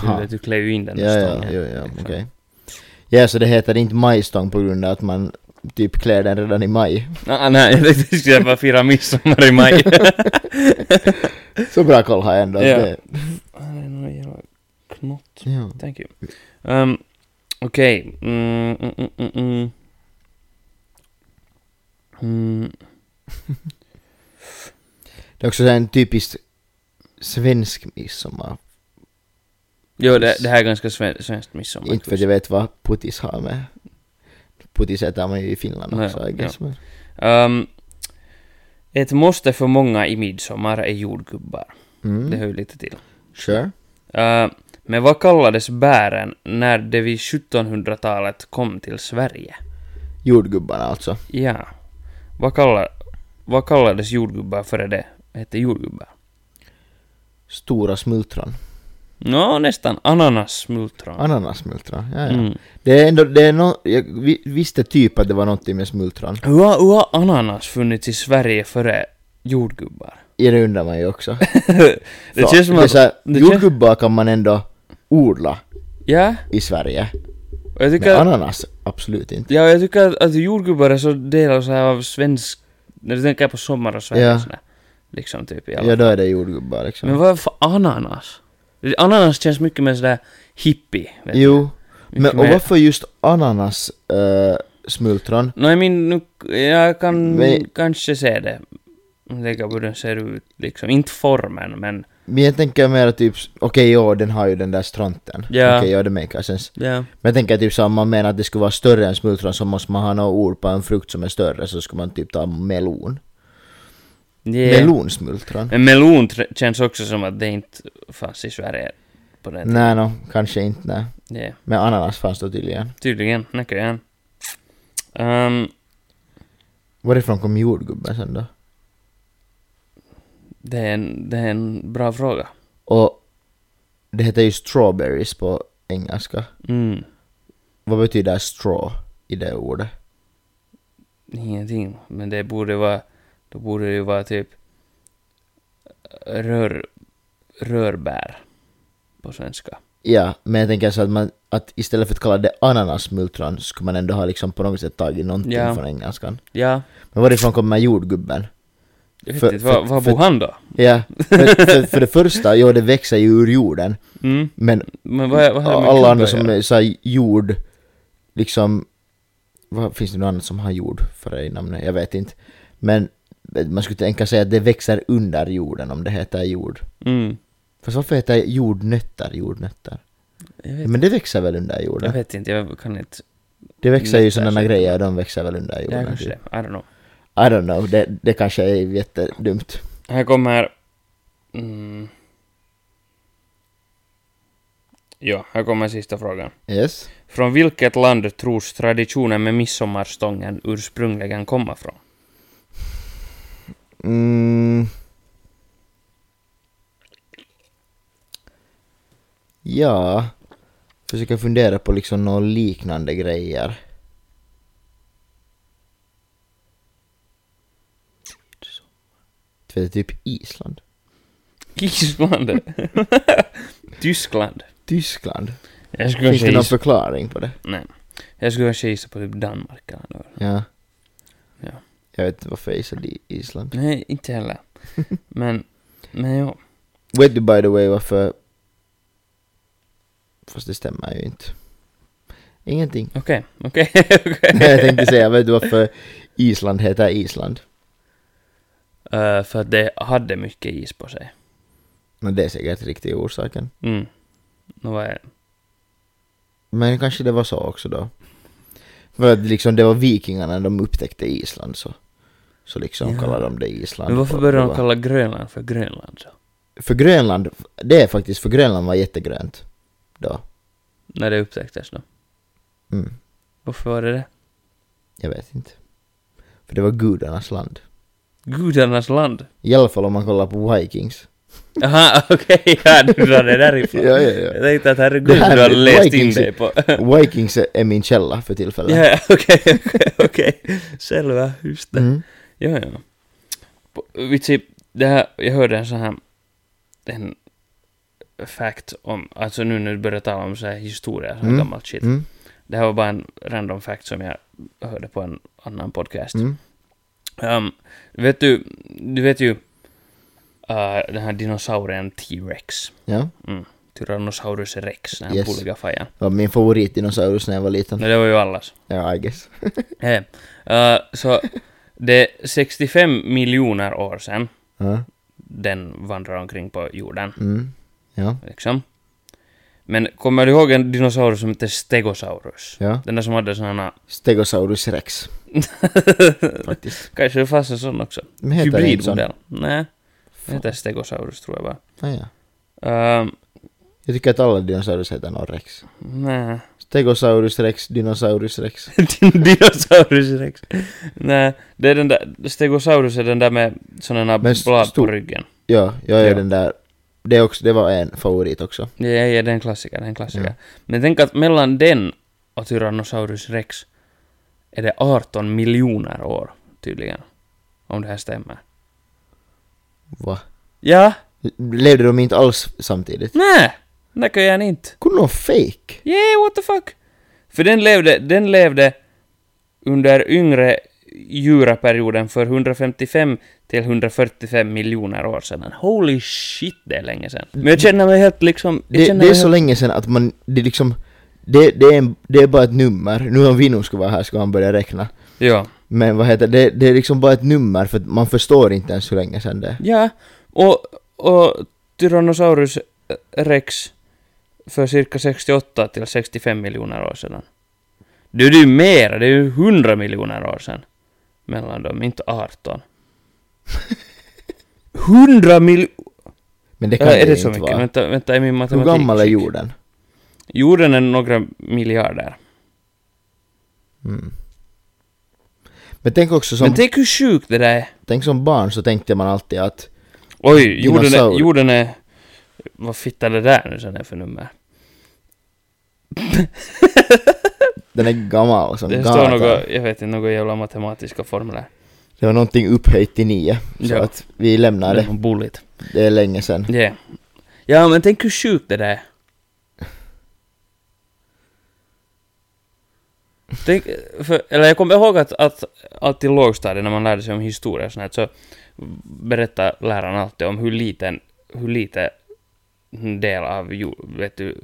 Speaker 2: Så
Speaker 3: Aha.
Speaker 2: att du klär ju in den
Speaker 3: ja,
Speaker 2: där
Speaker 3: ja,
Speaker 2: stången.
Speaker 3: ja, ja,
Speaker 2: liksom.
Speaker 3: okej. Ja, så det heter inte majstång på grund av att man typ klär den redan i maj.
Speaker 2: Ah, nej, jag tänkte att vi skulle bara fira midsommar i maj.
Speaker 3: Så bra koll har jag ändå. att
Speaker 2: Ja.
Speaker 3: Det,
Speaker 2: Han är någon jävla knott.
Speaker 3: ja.
Speaker 2: Thank you. Um, Okej. Mm, mm, mm, mm, mm. Mm,
Speaker 3: det är också en typisk svensk midsommar.
Speaker 2: jo, det, det här är ganska sven, svenskt midsommar.
Speaker 3: Inte för att jag vet vad puttis har med. Puttis äter man ju i Finland
Speaker 2: Nej,
Speaker 3: också, I guess. men-
Speaker 2: Ehm, ett måste för många i midsommar är jordgubbar. Det hör
Speaker 3: Mm.
Speaker 2: ju lite till.
Speaker 3: Sure.
Speaker 2: Ehm, men vad kallades bären när de vid 1700-talet kom till Sverige?
Speaker 3: Jordgubbarna alltså.
Speaker 2: Ja. Vad, kallar, vad kallades jordgubbar före det hette jordgubbar?
Speaker 3: Stora smultron.
Speaker 2: Nå, nästan. Ananas, smultron.
Speaker 3: Ananassmultron, ja, ja.
Speaker 2: Mm.
Speaker 3: Det är ändå, det är no, jag vi- visste typ att det var någonting med smultron.
Speaker 2: Hur har, hur har ananas funnits i Sverige före jordgubbar?
Speaker 3: I det undrar man ju också.
Speaker 2: det känns som
Speaker 3: det är
Speaker 2: att...
Speaker 3: så här,
Speaker 2: det känns-
Speaker 3: jordgubbar kan man ändå odla
Speaker 2: Ja,
Speaker 3: i Sverige.
Speaker 2: och jag tycker,
Speaker 3: Men
Speaker 2: att,
Speaker 3: ananas, absolut inte.
Speaker 2: ja, jag tycker att, att jordgubbar är så delar så här av svensk... När du tänker på sommar och Sverige
Speaker 3: Ja.
Speaker 2: ja. sådär. Liksom typ i alla
Speaker 3: Ja,
Speaker 2: fall.
Speaker 3: då är det jordgubbar liksom.
Speaker 2: Men vad för ananas? Ananas känns mycket mer sådär hippie. Vet du.
Speaker 3: jo, men
Speaker 2: Mycket
Speaker 3: och
Speaker 2: mer-
Speaker 3: varför just ananas eh, smultron?
Speaker 2: Nå, jag min, nu, jag kan
Speaker 3: Men-
Speaker 2: kanske se det. Jag tänker på hur den ser ut liksom. Inte formen, men...
Speaker 3: Men jag tänker mer typ, okej ja, den har ju den där stronten.
Speaker 2: Ja.
Speaker 3: Okej ja, det makar sense.
Speaker 2: Ja.
Speaker 3: Men jag tänker typ så om man menar att det skulle vara större än smultron så måste man ha något ord på en frukt som är större så skulle man typ ta melon.
Speaker 2: Yeah.
Speaker 3: Melonsmultron?
Speaker 2: Men melon tr- känns också som att det inte fanns i Sverige på den tiden.
Speaker 3: Nej, no, kanske inte. Nej.
Speaker 2: Yeah.
Speaker 3: Men ananas fanns då tydligen.
Speaker 2: Tydligen, näköjään. Um,
Speaker 3: Varifrån kom jordgubben sen då?
Speaker 2: det, är en, det är en bra fråga.
Speaker 3: Och det heter ju strawberries på engelska.
Speaker 2: Mm.
Speaker 3: Vad betyder straw i det ordet?
Speaker 2: Ingenting. Men det borde vara... Då borde det ju vara typ... Rör, rörbär. På svenska.
Speaker 3: Ja, men jag tänker så att, man, att istället för att kalla det ananasmultron skulle man ändå ha liksom på något sätt tagit någonting
Speaker 2: Ja.
Speaker 3: från engelskan.
Speaker 2: Ja.
Speaker 3: Men varifrån kommer jordgubben?
Speaker 2: Jag vet
Speaker 3: För-
Speaker 2: inte, var,
Speaker 3: för-
Speaker 2: var
Speaker 3: för-
Speaker 2: bor han då?
Speaker 3: Ja, för, för, för det första, jo det växer ju ur jorden,
Speaker 2: Mm.
Speaker 3: men
Speaker 2: Men vad, vad har det med
Speaker 3: alla
Speaker 2: gubbar
Speaker 3: andra
Speaker 2: att
Speaker 3: som
Speaker 2: göra?
Speaker 3: är så här jord, liksom, vad, finns det något annat som har jord för det i namnet? Jag vet inte. Men man skulle tänka sig att det växer under jorden om det heter jord.
Speaker 2: Mm.
Speaker 3: Fast varför heter jordnötter jordnötter?
Speaker 2: Jag vet,
Speaker 3: Men det växer väl under
Speaker 2: jag
Speaker 3: jorden?
Speaker 2: vet inte, jag kan inte...
Speaker 3: Det växer ju
Speaker 2: nötter,
Speaker 3: sådana
Speaker 2: så-
Speaker 3: grejer, de växer väl under
Speaker 2: Ja,
Speaker 3: jorden.
Speaker 2: kanske
Speaker 3: typ.
Speaker 2: det. I don't know.
Speaker 3: I don't know, det, det kanske är jättedumt.
Speaker 2: Här kommer... Mm, Jo, här kommer sista frågan.
Speaker 3: Yes.
Speaker 2: Från vilket land tros traditionen med midsommarstången ursprungligen komma från?
Speaker 3: Mm. Ja. Försöka fundera på liksom några liknande grejer. Vet du, Typ Island.
Speaker 2: Island? Tyskland?
Speaker 3: Tyskland.
Speaker 2: Jag skulle
Speaker 3: Finns
Speaker 2: kanske
Speaker 3: det någon
Speaker 2: gissa...
Speaker 3: förklaring på det?
Speaker 2: Nej. Jag skulle kanske gissa på typ Danmark eller något.
Speaker 3: Ja.
Speaker 2: Ja.
Speaker 3: Jag vet inte varför jag gissade i- Island.
Speaker 2: Nej, inte heller. Men, men ja.
Speaker 3: Vet du by the way varför... Fast det stämmer ju inte. Ingenting.
Speaker 2: Okej, okej, okej.
Speaker 3: Nej, jag tänkte säga, vet du varför Island heter Island?
Speaker 2: Eh, för att det hade mycket is på sig.
Speaker 3: Men det är säkert riktiga orsaken.
Speaker 2: Mm. Nu var jag...
Speaker 3: Men kanske det var så också då. För att liksom det var vikingarna de upptäckte Island så. Så liksom
Speaker 2: Ja.
Speaker 3: kallade de det Island.
Speaker 2: Men varför
Speaker 3: Och
Speaker 2: började
Speaker 3: det
Speaker 2: de
Speaker 3: var-
Speaker 2: kalla Grönland för Grönland så?
Speaker 3: För Grönland, det är faktiskt, för Grönland var jättegrönt. Då.
Speaker 2: När det upptäcktes då?
Speaker 3: Mm.
Speaker 2: Varför var det det?
Speaker 3: Jag vet inte. För det var gudarnas land.
Speaker 2: Gudarnas land?
Speaker 3: I alla fall om man kollar på Vikings.
Speaker 2: Aha, okej, ja du drar det därifrån.
Speaker 3: Ja, ja, ja.
Speaker 2: Jag tänkte att herregud,
Speaker 3: Det här
Speaker 2: du har
Speaker 3: är
Speaker 2: läst in
Speaker 3: Vikings-
Speaker 2: dig på...
Speaker 3: Vikings är min källa för tillfället.
Speaker 2: Ja, ja, okej, okej, okej. Själva, just det.
Speaker 3: Mm.
Speaker 2: Ja, ja. På- Vitsi, det här, jag hörde en sån här... En fact om... Alltså nu när du börjar tala om så här historia, så här
Speaker 3: Mm.
Speaker 2: gammalt shit.
Speaker 3: Mm.
Speaker 2: Det här var bara en random fact som jag hörde på en annan podcast.
Speaker 3: Mm.
Speaker 2: Ehm, vet du, du vet ju eh, den här dinosaurien T-Rex.
Speaker 3: Ja.
Speaker 2: Mm. Tyrannosaurus rex, den här
Speaker 3: Yes. Mm.
Speaker 2: bulgafajan.
Speaker 3: Det var min favoritdinosaurus när jag var liten.
Speaker 2: No, det var ju allas.
Speaker 3: Ja, I guess.
Speaker 2: Eh, eh, så det är 65 miljoner år sedan
Speaker 3: Ja.
Speaker 2: den vandrar omkring på jorden.
Speaker 3: Mm. Ja.
Speaker 2: Liksom. Men kommer du ihåg en dinosaurus som heter Stegosaurus?
Speaker 3: Ja.
Speaker 2: Den där som hade sådana...
Speaker 3: Stegosaurus rex. Faktiskt.
Speaker 2: Kanske det fanns en sån också.
Speaker 3: Men heter det inte sån?
Speaker 2: Hybridmodell. Nej, den
Speaker 3: Fan.
Speaker 2: heter Stegosaurus tror jag bara.
Speaker 3: Ah, ja.
Speaker 2: Ehm,
Speaker 3: Jag tycker att alla dinosaurus heter någon rex.
Speaker 2: nej.
Speaker 3: Stegosaurus rex, dinosaurus rex.
Speaker 2: Din dinosaurus rex. Nej, det är den där... Stegosaurus är den där med sådana
Speaker 3: Men st-
Speaker 2: blad på
Speaker 3: stor-
Speaker 2: ryggen.
Speaker 3: Ja, jag är
Speaker 2: Ja.
Speaker 3: den där. Det, är också, det var en favorit också.
Speaker 2: Ja, ja, ja, det är en klassiker, det är en klassiker.
Speaker 3: Ja.
Speaker 2: Men tänk att mellan den och Tyrannosaurus rex är det 18 miljoner år, tydligen. Om det här stämmer.
Speaker 3: Va?
Speaker 2: Ja,
Speaker 3: Levde de inte alls samtidigt?
Speaker 2: nej, det kan jag inte.
Speaker 3: Kunde de fake?
Speaker 2: Yeah, what the fuck? För den levde, den levde under yngre juraperioden för 155 till 145 miljoner år sedan. Holy shit, det är länge sedan. Men jag känner mig helt liksom... jag
Speaker 3: Det,
Speaker 2: känner
Speaker 3: det är
Speaker 2: mig
Speaker 3: så
Speaker 2: helt-
Speaker 3: länge sedan att man, det är liksom, det, det, är en, det är bara ett nummer. Nu om Vino skulle vara här skulle han börja räkna.
Speaker 2: Ja.
Speaker 3: Men vad heter det, det är liksom bara ett nummer för att man förstår inte ens hur länge sedan det är.
Speaker 2: Ja, och, och Tyrannosaurus rex för cirka 68 till 65 miljoner år sedan. Det är ju mer, det är ju 100 miljoner år sedan. Mellan dem, inte 18. 100 miljoner...
Speaker 3: Men det kan
Speaker 2: Är
Speaker 3: det
Speaker 2: det
Speaker 3: ju
Speaker 2: så
Speaker 3: inte
Speaker 2: mycket?
Speaker 3: vara.
Speaker 2: Vänta, vänta, är min
Speaker 3: Hur
Speaker 2: matematik...
Speaker 3: gammal är
Speaker 2: chick?
Speaker 3: jorden?
Speaker 2: Jorden är några miljarder.
Speaker 3: Mm. Men tänk också som,
Speaker 2: Men
Speaker 3: tänk...
Speaker 2: tänk hur sjukt det där är.
Speaker 3: som barn så tänkte man alltid att
Speaker 2: Oj, jorden är,
Speaker 3: Dinosaur.
Speaker 2: jorden är... Vad fittar det där nu sen är för nummer?
Speaker 3: den är gammal som
Speaker 2: Det står
Speaker 3: gatan.
Speaker 2: något, jag vet inte, några jävla matematiska formler.
Speaker 3: Det var någonting upphöjt till nio. Så
Speaker 2: Ja. Mm.
Speaker 3: att vi lämnar
Speaker 2: Det
Speaker 3: det.
Speaker 2: var bulligt.
Speaker 3: Det är länge sedan.
Speaker 2: Yeah. Ja, men tänk hur sjukt det där är. Tänk, för, eller jag kommer ihåg att, att alltid i lågstadiet när man lärde sig om historia och sånt här, så berättar läraren alltid om hur liten, hur lite del av, jord- vet du,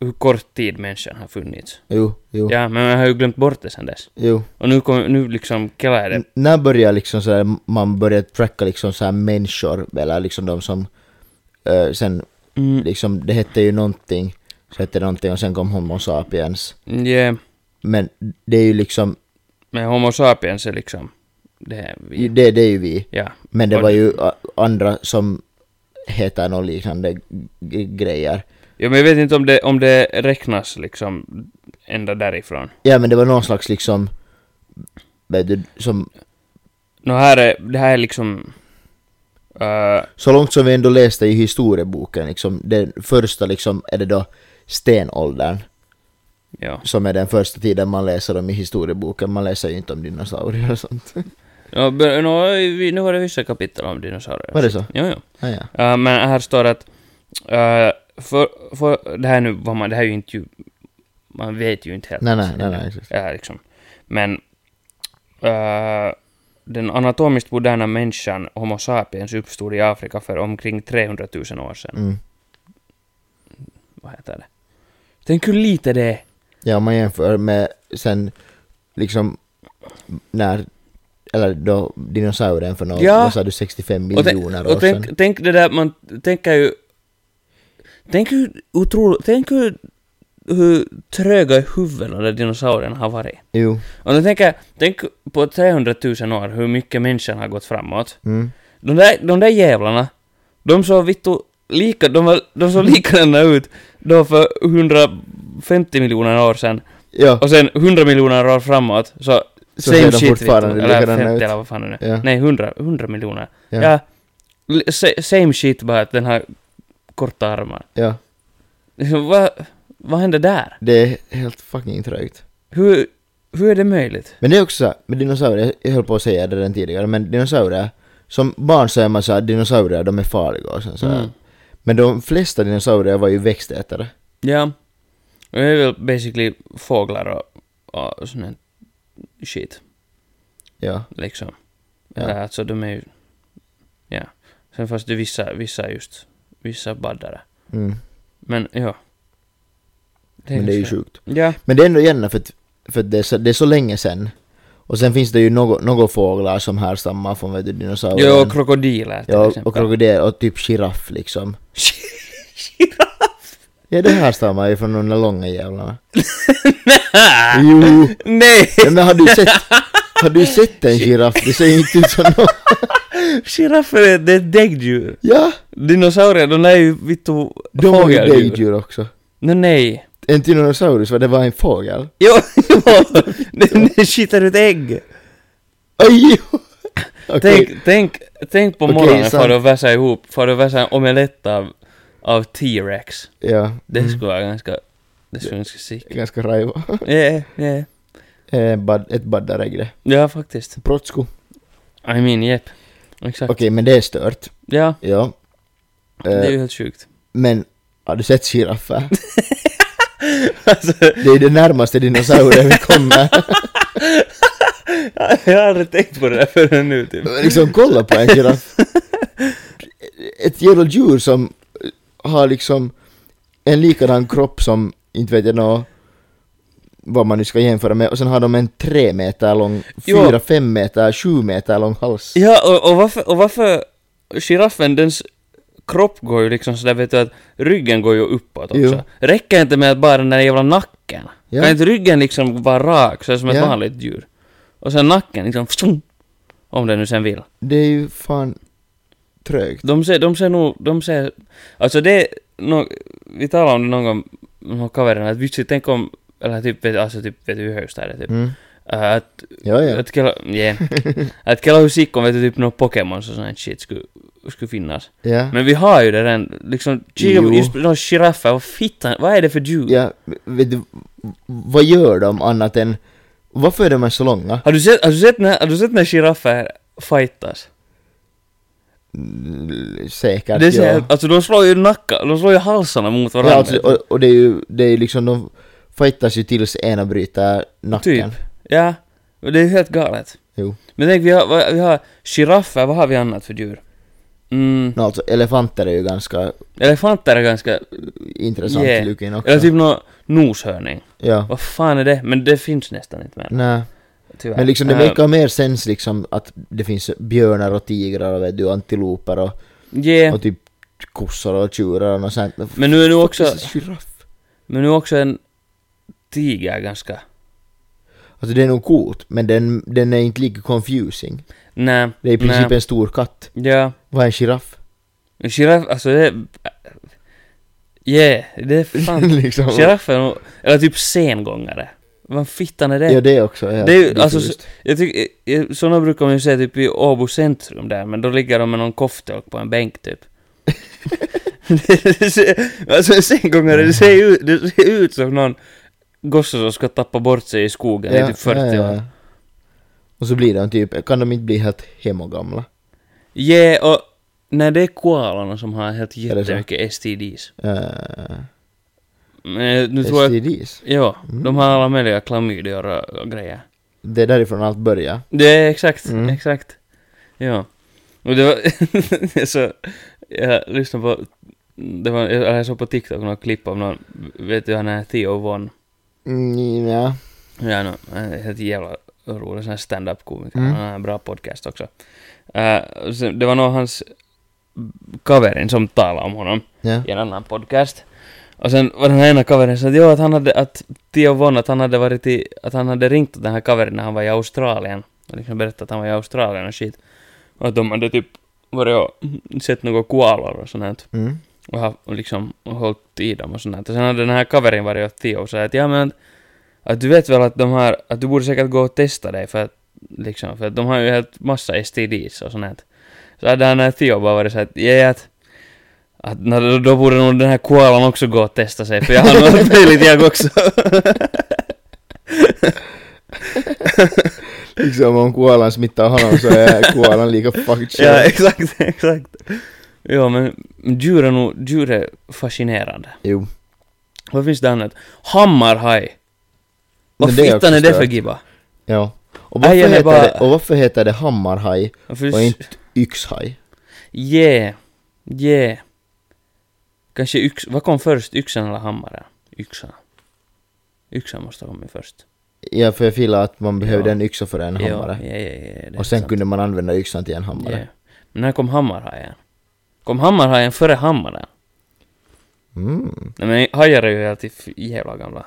Speaker 2: hur kort tid människan har funnits.
Speaker 3: Jo, jo,
Speaker 2: Ja, men jag har ju glömt bort det sen dess.
Speaker 3: jo.
Speaker 2: Och nu, kom, nu liksom kellar jag det.
Speaker 3: N- när börjar liksom så här, man börjar tracka liksom så här människor, eller liksom de som eh, sen,
Speaker 2: Mm,
Speaker 3: liksom, det hette ju någonting, så hette det någonting och sen kom Homo sapiens.
Speaker 2: yeah.
Speaker 3: Men det är ju liksom,
Speaker 2: Men Homo sapiens är liksom... Det är vi.
Speaker 3: det, det är ju vi.
Speaker 2: Ja.
Speaker 3: Men det
Speaker 2: Och-
Speaker 3: var ju a- andra som heter något liknande g- g- grejer
Speaker 2: Ja, men jag vet inte om det, om det räknas liksom ända därifrån.
Speaker 3: Ja men det var någon slags liksom... Vet du, som...
Speaker 2: Nå här är, det här är liksom... eh,
Speaker 3: Så långt som vi ändå läste i historieboken liksom, den första liksom, är det då stenåldern
Speaker 2: ja.
Speaker 3: som är den första tiden man läser om i historieboken. Man läser ju inte om dinosaurier och sånt.
Speaker 2: Ja, be- nå, vi- nu var det vissa kapitel om dinosaurier.
Speaker 3: Var det så?
Speaker 2: Jo, jo.
Speaker 3: Ja, Ah, ja.
Speaker 2: Eh, men här står att... eh, för, för, det här nu vad man... Det här är ju inte ju... Man vet ju inte helt.
Speaker 3: Nej, nej, nej, nej. exakt.
Speaker 2: Ja, liksom. Men eh, den anatomiskt moderna människan, Homo sapiens, uppstod i Afrika för omkring 300 000 år sedan.
Speaker 3: Mm.
Speaker 2: Vad heter det? Tänk hur lite det är.
Speaker 3: Ja, om man jämför med sen liksom när, eller då dinosaurien för några,
Speaker 2: Ja.
Speaker 3: vad sa du, 65
Speaker 2: Och, tänk-
Speaker 3: miljoner år
Speaker 2: och
Speaker 3: sedan.
Speaker 2: tänk, tänk det där, man tänker ju... Tänk hur otroligt... Tänk hur, hur tröga i huvudet de dinosaurierna har varit.
Speaker 3: Jo,
Speaker 2: Och då tänker jag, tänk på 300 000 år hur mycket människan har gått framåt.
Speaker 3: mm.
Speaker 2: De där, de där jävlarna, de såg vittu lika, de, var, de såg likadana ut då för 150 miljoner år sedan.
Speaker 3: ja,
Speaker 2: Och sen 100 miljoner år framåt, så,
Speaker 3: Så
Speaker 2: same
Speaker 3: ser de
Speaker 2: shit
Speaker 3: fortfarande
Speaker 2: vittu. Eller
Speaker 3: likadana
Speaker 2: 50
Speaker 3: ut.
Speaker 2: eller vad fan det nu
Speaker 3: Ja.
Speaker 2: Nej, 100, 100 miljoner.
Speaker 3: Ja.
Speaker 2: Ja. L- sa- Same shit bara att den har korta armar.
Speaker 3: ja.
Speaker 2: Liksom, vad, vad hände där?
Speaker 3: Det är helt fucking trögt.
Speaker 2: Hur, hur är det möjligt?
Speaker 3: Men det är också så här, med dinosaurier, jag höll på att säga det redan tidigare, men dinosaurier, som barn så är man såhär, dinosaurier de är farliga och sen så här.
Speaker 2: Mm.
Speaker 3: Men de flesta dinosaurier var ju växtätare.
Speaker 2: Ja. Det är väl basically fåglar och, och sån här shit,
Speaker 3: Ja,
Speaker 2: liksom.
Speaker 3: Ja.
Speaker 2: Ja. Alltså de är ju... Ja. Sen fast det vissa, vissa just, vissa baddare.
Speaker 3: mm.
Speaker 2: Men ja. är
Speaker 3: men det är ju
Speaker 2: så-
Speaker 3: sjukt.
Speaker 2: Ja.
Speaker 3: Men det är ändå gärna för att, för att det, är så, det är så länge sen. Och sen finns det ju några några fåglar som härstammar från vet du, dinosaurier.
Speaker 2: Ja, och krokodiler till
Speaker 3: ja,
Speaker 2: exempel.
Speaker 3: och krokodil och typ giraff liksom.
Speaker 2: Giraff?
Speaker 3: Ja, det härstammar ju från de där långa jävlarna. jo!
Speaker 2: Nej!
Speaker 3: Ja, men har du sett, har du sett en giraff? Det ser ju inte ut som någon.
Speaker 2: Giraffer är det är ett däggdjur.
Speaker 3: Ja!
Speaker 2: Dinosaurier, de är ju vittu
Speaker 3: De var ju
Speaker 2: fågeldjur.
Speaker 3: däggdjur också.
Speaker 2: Nej, nej.
Speaker 3: En tyrannosaurus, vad det var en fågel?
Speaker 2: Jo, jo! Den den skitar ut ägg.
Speaker 3: Aj! jo. Okej,
Speaker 2: Tänk, tänk, tänk på
Speaker 3: Okej,
Speaker 2: morgonen
Speaker 3: sant.
Speaker 2: för att vässa ihop, för att vässa en omelett av, av T-rex.
Speaker 3: ja.
Speaker 2: Det
Speaker 3: Mm.
Speaker 2: skulle vara ganska, det skulle vara ganska sick.
Speaker 3: Ganska rajva.
Speaker 2: Ja, ja.
Speaker 3: Eh, bad, ett baddarägg
Speaker 2: Ja, faktiskt.
Speaker 3: Protsko. Okej,
Speaker 2: I mean, jep. Exakt.
Speaker 3: men det är stört.
Speaker 2: Ja,
Speaker 3: Ja.
Speaker 2: det är
Speaker 3: Eh,
Speaker 2: ju helt sjukt.
Speaker 3: men, har du sett giraffer?
Speaker 2: Alltså,
Speaker 3: Det är det närmaste dinosaurier vi kommer.
Speaker 2: jag har aldrig tänkt på det där förrän nu typ.
Speaker 3: liksom kolla på en giraff. Ett jävla djur som har liksom en likadan kropp som, inte vet jag nå, vad man nu ska jämföra med, och sen har de en tre meter lång,
Speaker 2: Jo.
Speaker 3: fyra, fem meter, sju meter lång hals.
Speaker 2: Ja, och, och varför, och varför giraffen, dens kropp går ju liksom sådär vet du att ryggen går ju uppåt också.
Speaker 3: Jo.
Speaker 2: Räcker inte med att bara den där jävla nacken?
Speaker 3: Ja.
Speaker 2: Kan inte ryggen liksom vara rak, så här som ett
Speaker 3: Ja.
Speaker 2: vanligt djur? Och sen nacken liksom, fsung, om den nu sen vill.
Speaker 3: Det är ju fan trögt.
Speaker 2: De ser, de ser nog, de ser, alltså det, är nå- vi talade om det någon gång, någon kaverna, att vitsi, tänk om, eller typ, vet- alltså typ, vet du, i högstadiet typ.
Speaker 3: Mm.
Speaker 2: Äh, att
Speaker 3: Ja, ja.
Speaker 2: Att kela, yeah. att kela hur sick om vet du typ några Pokémons och sånt shit skulle, skulle finnas.
Speaker 3: ja.
Speaker 2: Men vi har ju det redan, liksom,
Speaker 3: Mm. Jo.
Speaker 2: gi- just några giraffer, vad fittan, vad är det för djur?
Speaker 3: ja. Vet du, vad gör de annat än, varför är de så långa?
Speaker 2: Har du sett, har du sett när, har du sett när giraffer fightas?
Speaker 3: Mm, Säkert,
Speaker 2: Det är så
Speaker 3: ja.
Speaker 2: här, alltså de slår ju nackar, de slår ju halsarna mot varandra.
Speaker 3: Ja, alltså, och, och det är ju, det är ju liksom, de fightas ju tills ena bryter nacken.
Speaker 2: Typ. Ja. Och det är ju helt galet.
Speaker 3: Jo.
Speaker 2: Men tänk, vi har, vad- vi har giraffer, vad har vi annat för djur? Mm,
Speaker 3: No, alltså, elefanter är ju ganska
Speaker 2: elefanter är ganska,
Speaker 3: intressant
Speaker 2: Yeah.
Speaker 3: yeah. looking också.
Speaker 2: eller typ någon noshörning.
Speaker 3: Ja.
Speaker 2: Vad fan är det? Men det finns nästan inte mer.
Speaker 3: Nej.
Speaker 2: Tyvärr.
Speaker 3: Men liksom det
Speaker 2: Äh,
Speaker 3: verkar mer sens liksom att det finns björnar och tigrar och vet du, antiloper och,
Speaker 2: Yeah.
Speaker 3: och typ kossor och tjurar och något sånt. Men
Speaker 2: Men nu är nu också,
Speaker 3: faktiskt Giraff.
Speaker 2: men nu är också en tiger ganska...
Speaker 3: Alltså det är nog coolt, men den, den är inte lika confusing.
Speaker 2: Nej.
Speaker 3: Det är i princip
Speaker 2: nej.
Speaker 3: en stor katt.
Speaker 2: Ja.
Speaker 3: Vad är en giraff?
Speaker 2: En Giraff, alltså det... är- Yeah, det är fan...
Speaker 3: liksom.
Speaker 2: Giraffer, och- eller typ sengångare. Vad fittan är det?
Speaker 3: Ja det också. Ja.
Speaker 2: det är ju, alltså,
Speaker 3: Diffust.
Speaker 2: jag tycker, sådana brukar man ju se typ i Åbo centrum där, men då ligger de med någon kofftolk på en bänk typ. det ser, alltså en sengångare, det ser, ju, det ser ut som någon gosse som ska tappa bort sig i skogen i typ 40
Speaker 3: ja, ja.
Speaker 2: år.
Speaker 3: Och så blir de typ, kan de inte bli helt hemogamla?
Speaker 2: Yeah, och nej det är koalorna som har helt
Speaker 3: det så?
Speaker 2: jättemycket STDs.
Speaker 3: Uh,
Speaker 2: Men Eh, nu tror jag,
Speaker 3: STDs?
Speaker 2: ja,
Speaker 3: Mm.
Speaker 2: de har alla möjliga klamydior och, och grejer.
Speaker 3: Det är därifrån allt börjar.
Speaker 2: Det är exakt,
Speaker 3: Mm.
Speaker 2: exakt. Ja. Och det var, så, jag lyssnade på, det var, jag jag såg på TikTok några klipp av någon, vet du han är Theo Von,
Speaker 3: Mm, ja.
Speaker 2: ja, no, han är helt jävla rolig sån här stand-up-komiker,
Speaker 3: Mm.
Speaker 2: han har en bra podcast också. Eh, och sen- det var nog hans kaverin som talade om honom
Speaker 3: ja.
Speaker 2: i en annan podcast. Och sen var den här ena covern så att, jo, att han hade, att Theo Von, att han hade varit i, att han hade ringt åt den här covern när han var i Australien. Och liksom berättat att han var i Australien och shit. Och att de hade typ varit och sett några koalor och sånt här.
Speaker 3: Mm.
Speaker 2: Och, ha, och liksom hållit i dem och sånt här. Och sen hade den här covern varit åt Theo och sagt att ja men att, att du vet väl att de har, att du borde säkert gå och testa dig för att liksom, för att de har ju helt massa STDs och sånt här. Så hade han här Theo bara varit så att, ja att att no, då, då borde nog den här koalan också gå och testa sig, för jag har något möjligt jag också.
Speaker 3: Liksom om koalan smittar honom så är koalan lika fucked shit.
Speaker 2: ja, exakt, exakt. Ja, men djur är nog, djur är fascinerande.
Speaker 3: Jo.
Speaker 2: Vad finns det annat? Hammarhaj! Vad
Speaker 3: Men det är också
Speaker 2: fittan är det för
Speaker 3: stört.
Speaker 2: gibba?
Speaker 3: Ja. Och
Speaker 2: Nej,
Speaker 3: varför,
Speaker 2: jag är
Speaker 3: heter
Speaker 2: bara-
Speaker 3: det, och varför heter det hammarhaj
Speaker 2: Varför-
Speaker 3: och inte yxhaj?
Speaker 2: Yeah, yeah. Kanske yx... Vad kom först, yxan eller hammaren? Yxan. Yxan måste ha kommit först.
Speaker 3: Ja, för jag filar att man behövde
Speaker 2: Ja.
Speaker 3: en yxa för en hammare.
Speaker 2: Ja, ja, ja, ja, det är
Speaker 3: och sen
Speaker 2: sant.
Speaker 3: kunde man använda yxan till en hammare.
Speaker 2: Ja. Men när kom hammarhajen? Kom hammarhajen före hammaren?
Speaker 3: Mm.
Speaker 2: Nej men hajar är ju alltid f- jävla gamla.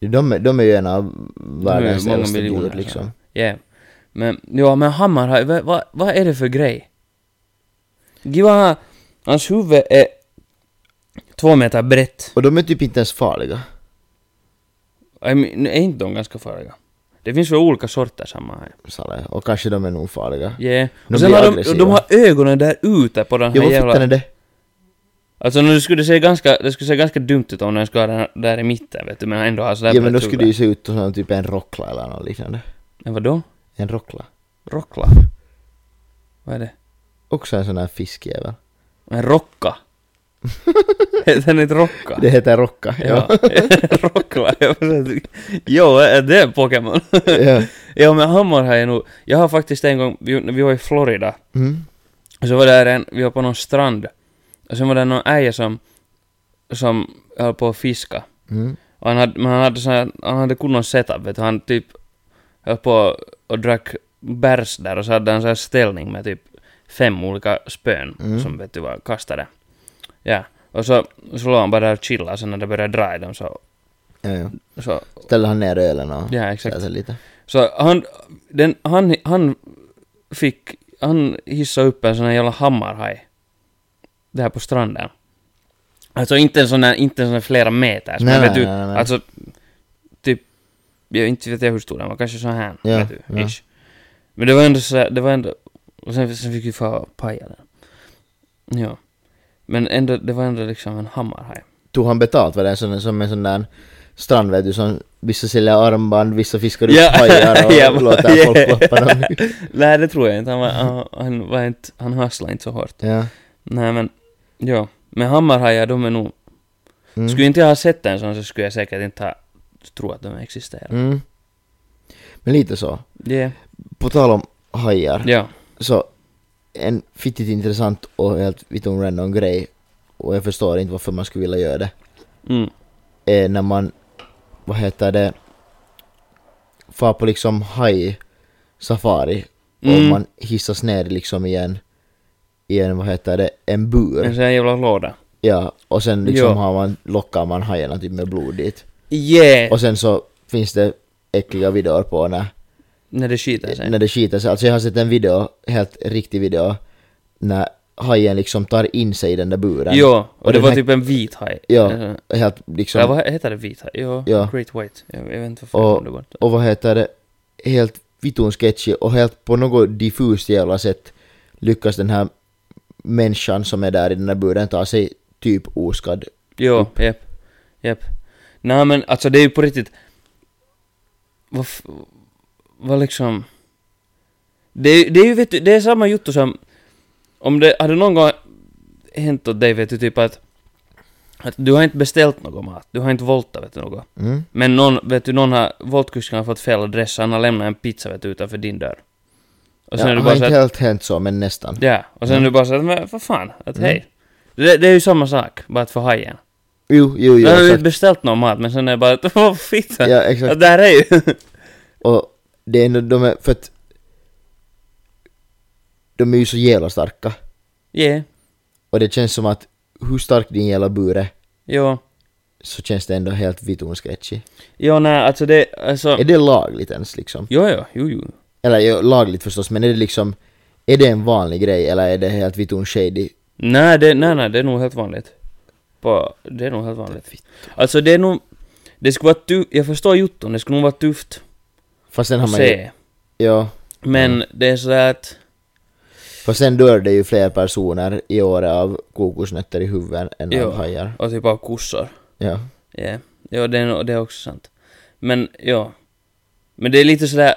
Speaker 3: De, är- de är ju en av världens
Speaker 2: De är många
Speaker 3: äldsta
Speaker 2: miljoner,
Speaker 3: djur
Speaker 2: så.
Speaker 3: liksom.
Speaker 2: Yeah. Men, ja men hammarhaj, vad va, vad är det för grej? Giva, hans huvud är två meter brett.
Speaker 3: Och de är typ inte ens farliga.
Speaker 2: I mean, är inte de ganska farliga? Det finns väl olika sorters hammarhaj?
Speaker 3: Sale. Och kanske de är nog farliga.
Speaker 2: Yeah.
Speaker 3: De
Speaker 2: och sen
Speaker 3: blir
Speaker 2: har de,
Speaker 3: aggressiva.
Speaker 2: och de har ögonen där ute på den här
Speaker 3: Jo, vad
Speaker 2: jävla...
Speaker 3: fittan är det?
Speaker 2: Alltså nu skulle det se ganska, det skulle se ganska dumt ut om den skulle ha den här- där i mitten vet du, men ändå ha sådär
Speaker 3: Ja men då
Speaker 2: brett
Speaker 3: skulle det
Speaker 2: huvud.
Speaker 3: ju se ut som typ en rockla eller något liknande.
Speaker 2: Men vadå?
Speaker 3: En rockla.
Speaker 2: Rockla? Vad är det?
Speaker 3: Också en sån här fiskjävel.
Speaker 2: En rocka? Heter den inte rocka?
Speaker 3: Det heter rocka. Ja.
Speaker 2: Ja, rockla. Jag försökte- Jo, är det en Pokémon?
Speaker 3: ja.
Speaker 2: ja men hammarhaj är nog, jag har faktiskt en gång, vi, vi var i Florida
Speaker 3: Mm.
Speaker 2: Och så var där en, vi var på någon strand. Och sen var det någon äja som, som höll på att fiska.
Speaker 3: Mm.
Speaker 2: Och han hade, men han hade sån här, han hade kunnon setup vet du. Han typ höll på och drack bärs där och så hade han sån här ställning med typ fem olika spön
Speaker 3: Mm.
Speaker 2: som vet du var kastade. Ja. Och så, så låg han bara där och chillade och sen när det började dra i dem så,
Speaker 3: Ja, ja.
Speaker 2: så,
Speaker 3: Ställer han ner ölen och
Speaker 2: ja exakt.
Speaker 3: läser lite.
Speaker 2: Så han, den, han, han fick, han hissade upp en sån här jävla hammarhaj. Där på stranden. Alltså inte en sån här, inte en sån här flera meter.
Speaker 3: Nej,
Speaker 2: men vet du,
Speaker 3: nej, nej, nej.
Speaker 2: alltså typ, jag inte vet jag hur stor den var, kanske så här.
Speaker 3: Ja,
Speaker 2: vet du,
Speaker 3: ja.
Speaker 2: ish. Men det var ändå så här, det var ändå, och sen, sen fick vi få och paja den. Ja. Men ändå, det var ändå liksom en hammarhaj.
Speaker 3: Tog han betalt? Var det en sån, som en sån där strand vet du, som vissa säljer armband, vissa fiskar upp
Speaker 2: Ja.
Speaker 3: hajar och
Speaker 2: Ja,
Speaker 3: låter
Speaker 2: ja.
Speaker 3: folk klappa dem.
Speaker 2: Nej det tror jag inte, han var, han, han var inte, han hustlade inte så hårt.
Speaker 3: Ja.
Speaker 2: Nej men, ja. Men hammarhajar, de är nog...
Speaker 3: Mm.
Speaker 2: Skulle inte jag ha sett en sån så skulle jag säkert inte ha tro att de existerar.
Speaker 3: Mm. Men lite så.
Speaker 2: Yeah.
Speaker 3: På tal om hajar.
Speaker 2: Ja.
Speaker 3: Så en fittigt intressant och helt vittum random grej och jag förstår inte varför man skulle vilja göra det.
Speaker 2: Mm.
Speaker 3: är när man, vad heter det, far på liksom haj safari och
Speaker 2: Mm.
Speaker 3: man hissas ner liksom i en, i en, vad heter det, en
Speaker 2: En
Speaker 3: bur.
Speaker 2: sån här jävla låda.
Speaker 3: Ja, och sen liksom
Speaker 2: Ja.
Speaker 3: har man, lockar man hajarna typ med blod dit.
Speaker 2: Yeah!
Speaker 3: Och sen så finns det äckliga videor på när,
Speaker 2: när det skiter sig.
Speaker 3: när det skiter sig. Alltså jag har sett en video, helt riktig video, när hajen liksom tar in sig i den där buren.
Speaker 2: Jo, och det
Speaker 3: den
Speaker 2: var
Speaker 3: här-
Speaker 2: typ en vit haj.
Speaker 3: Ja,
Speaker 2: Eller-
Speaker 3: helt
Speaker 2: Ja,
Speaker 3: liksom,
Speaker 2: vad heter det vit haj? Jo,
Speaker 3: Ja.
Speaker 2: Great White. Jag, jag vet inte vad
Speaker 3: Och-
Speaker 2: fan det var.
Speaker 3: och vad heter det, helt vitun sketchy och helt på något diffust jävla sätt lyckas den här människan som är där i den där buren ta sig typ oskadd.
Speaker 2: Jo, japp. Japp. Nej men alltså det är ju på riktigt... Vad... f- Vad liksom... Det, är- det är ju vet du, det är samma jotto som... Om det hade någon gång hänt åt dig vet du typ att... Att du har inte beställt någon mat, du har inte voltat vet du något.
Speaker 3: Mm?
Speaker 2: Men någon, vet du, någon har, voltkusken har fått fel adress, han har lämnat en pizza vet du utanför din dörr. Och sen
Speaker 3: ja,
Speaker 2: är
Speaker 3: det
Speaker 2: du
Speaker 3: har
Speaker 2: bara så
Speaker 3: inte
Speaker 2: att,
Speaker 3: helt hänt så, men nästan.
Speaker 2: Ja, och sen är du bara så att, men vad fan, att
Speaker 3: Mm.
Speaker 2: hej. Det, det är ju samma sak, bara att för hajen.
Speaker 3: Jo, jo, jo.
Speaker 2: Jag har ju
Speaker 3: exakt.
Speaker 2: inte beställt någon mat men sen är jag bara att vad fitta.
Speaker 3: Ja, exakt.
Speaker 2: Det här är ju...
Speaker 3: Och det är ändå, de är, för att de är ju så jävla starka.
Speaker 2: yeah,
Speaker 3: Och det känns som att hur stark din jävla bur är
Speaker 2: jo.
Speaker 3: så känns det ändå helt vitun sketchy.
Speaker 2: Jo nej alltså det, alltså...
Speaker 3: Är det lagligt ens liksom?
Speaker 2: Jo jo, jo jo.
Speaker 3: Eller ja, lagligt förstås, men är det liksom, är det en vanlig grej eller är det helt vitun shady?
Speaker 2: Nej det, nej nej det är nog helt vanligt. På, det är nog helt vanligt. Alltså det är nog... Det skulle vara tufft, jag förstår jotton, det skulle nog vara tufft
Speaker 3: Fast sen har
Speaker 2: att
Speaker 3: man ju,
Speaker 2: se.
Speaker 3: ja,
Speaker 2: Men det är sådär att...
Speaker 3: fast sen dör det ju fler personer i år av kokosnötter i huvudet än
Speaker 2: Jo.
Speaker 3: av hajar.
Speaker 2: Och typ av kossor.
Speaker 3: Ja.
Speaker 2: Ja, ja det, är, nog- det är också sant. Men ja. Men det är lite sådär...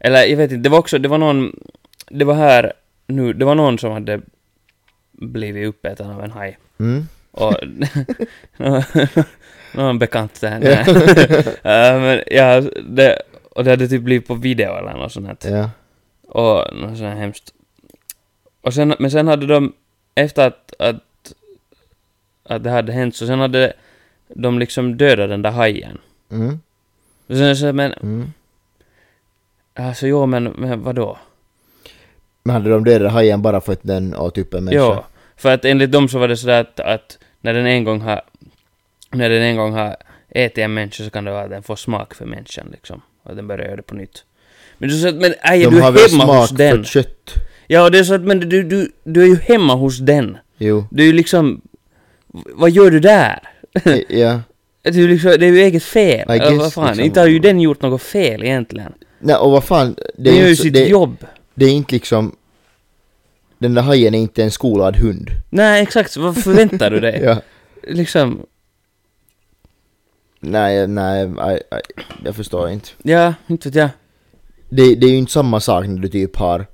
Speaker 2: Eller jag vet inte, det var också, det var någon... Det var här nu, det var någon som hade blivit uppäten av en haj.
Speaker 3: Mm.
Speaker 2: Och... någon bekant där. nej. Äh, men ja, det... Och det hade typ blivit på video eller något sånt. här.
Speaker 3: Ja.
Speaker 2: Och något sånt här hemskt. Och sen, men sen hade de, efter att, att, att det hade hänt, så sen hade de liksom dödat den där hajen.
Speaker 3: Mm.
Speaker 2: Och sen så, men,
Speaker 3: Mm.
Speaker 2: alltså jo men, men vadå?
Speaker 3: Men hade de dödat hajen bara för att den åt upp en människa?
Speaker 2: Ja, för att enligt dem så var det sådär att, att när den en gång har, när den en gång har ätit en människa så kan det vara att den får smak för människan liksom. Och den börjar göra det på nytt. Men du sa att, men aj,
Speaker 3: De
Speaker 2: du
Speaker 3: har
Speaker 2: är
Speaker 3: väl
Speaker 2: hemma
Speaker 3: smak
Speaker 2: hos den.
Speaker 3: för kött?
Speaker 2: Ja, och det är så att, men du, du, du är ju hemma hos den.
Speaker 3: Jo.
Speaker 2: Det är ju liksom... Vad gör du där?
Speaker 3: I- ja.
Speaker 2: Det är ju, liksom, det är ju eget fel.
Speaker 3: I
Speaker 2: Eller
Speaker 3: guess,
Speaker 2: vad fan,
Speaker 3: liksom.
Speaker 2: inte har ju den gjort något fel egentligen.
Speaker 3: Nej, och vad fan, det
Speaker 2: den
Speaker 3: är,
Speaker 2: gör ju
Speaker 3: inte, så-
Speaker 2: sitt
Speaker 3: det,
Speaker 2: jobb.
Speaker 3: det är inte liksom... Den där hajen är inte en skolad hund.
Speaker 2: Nej, exakt. så Vad förväntar du dig?
Speaker 3: Ja.
Speaker 2: Liksom,
Speaker 3: Nej, nej, aj, aj, jag förstår inte.
Speaker 2: ja, inte vet jag.
Speaker 3: Det, det är ju inte samma sak när du typ har...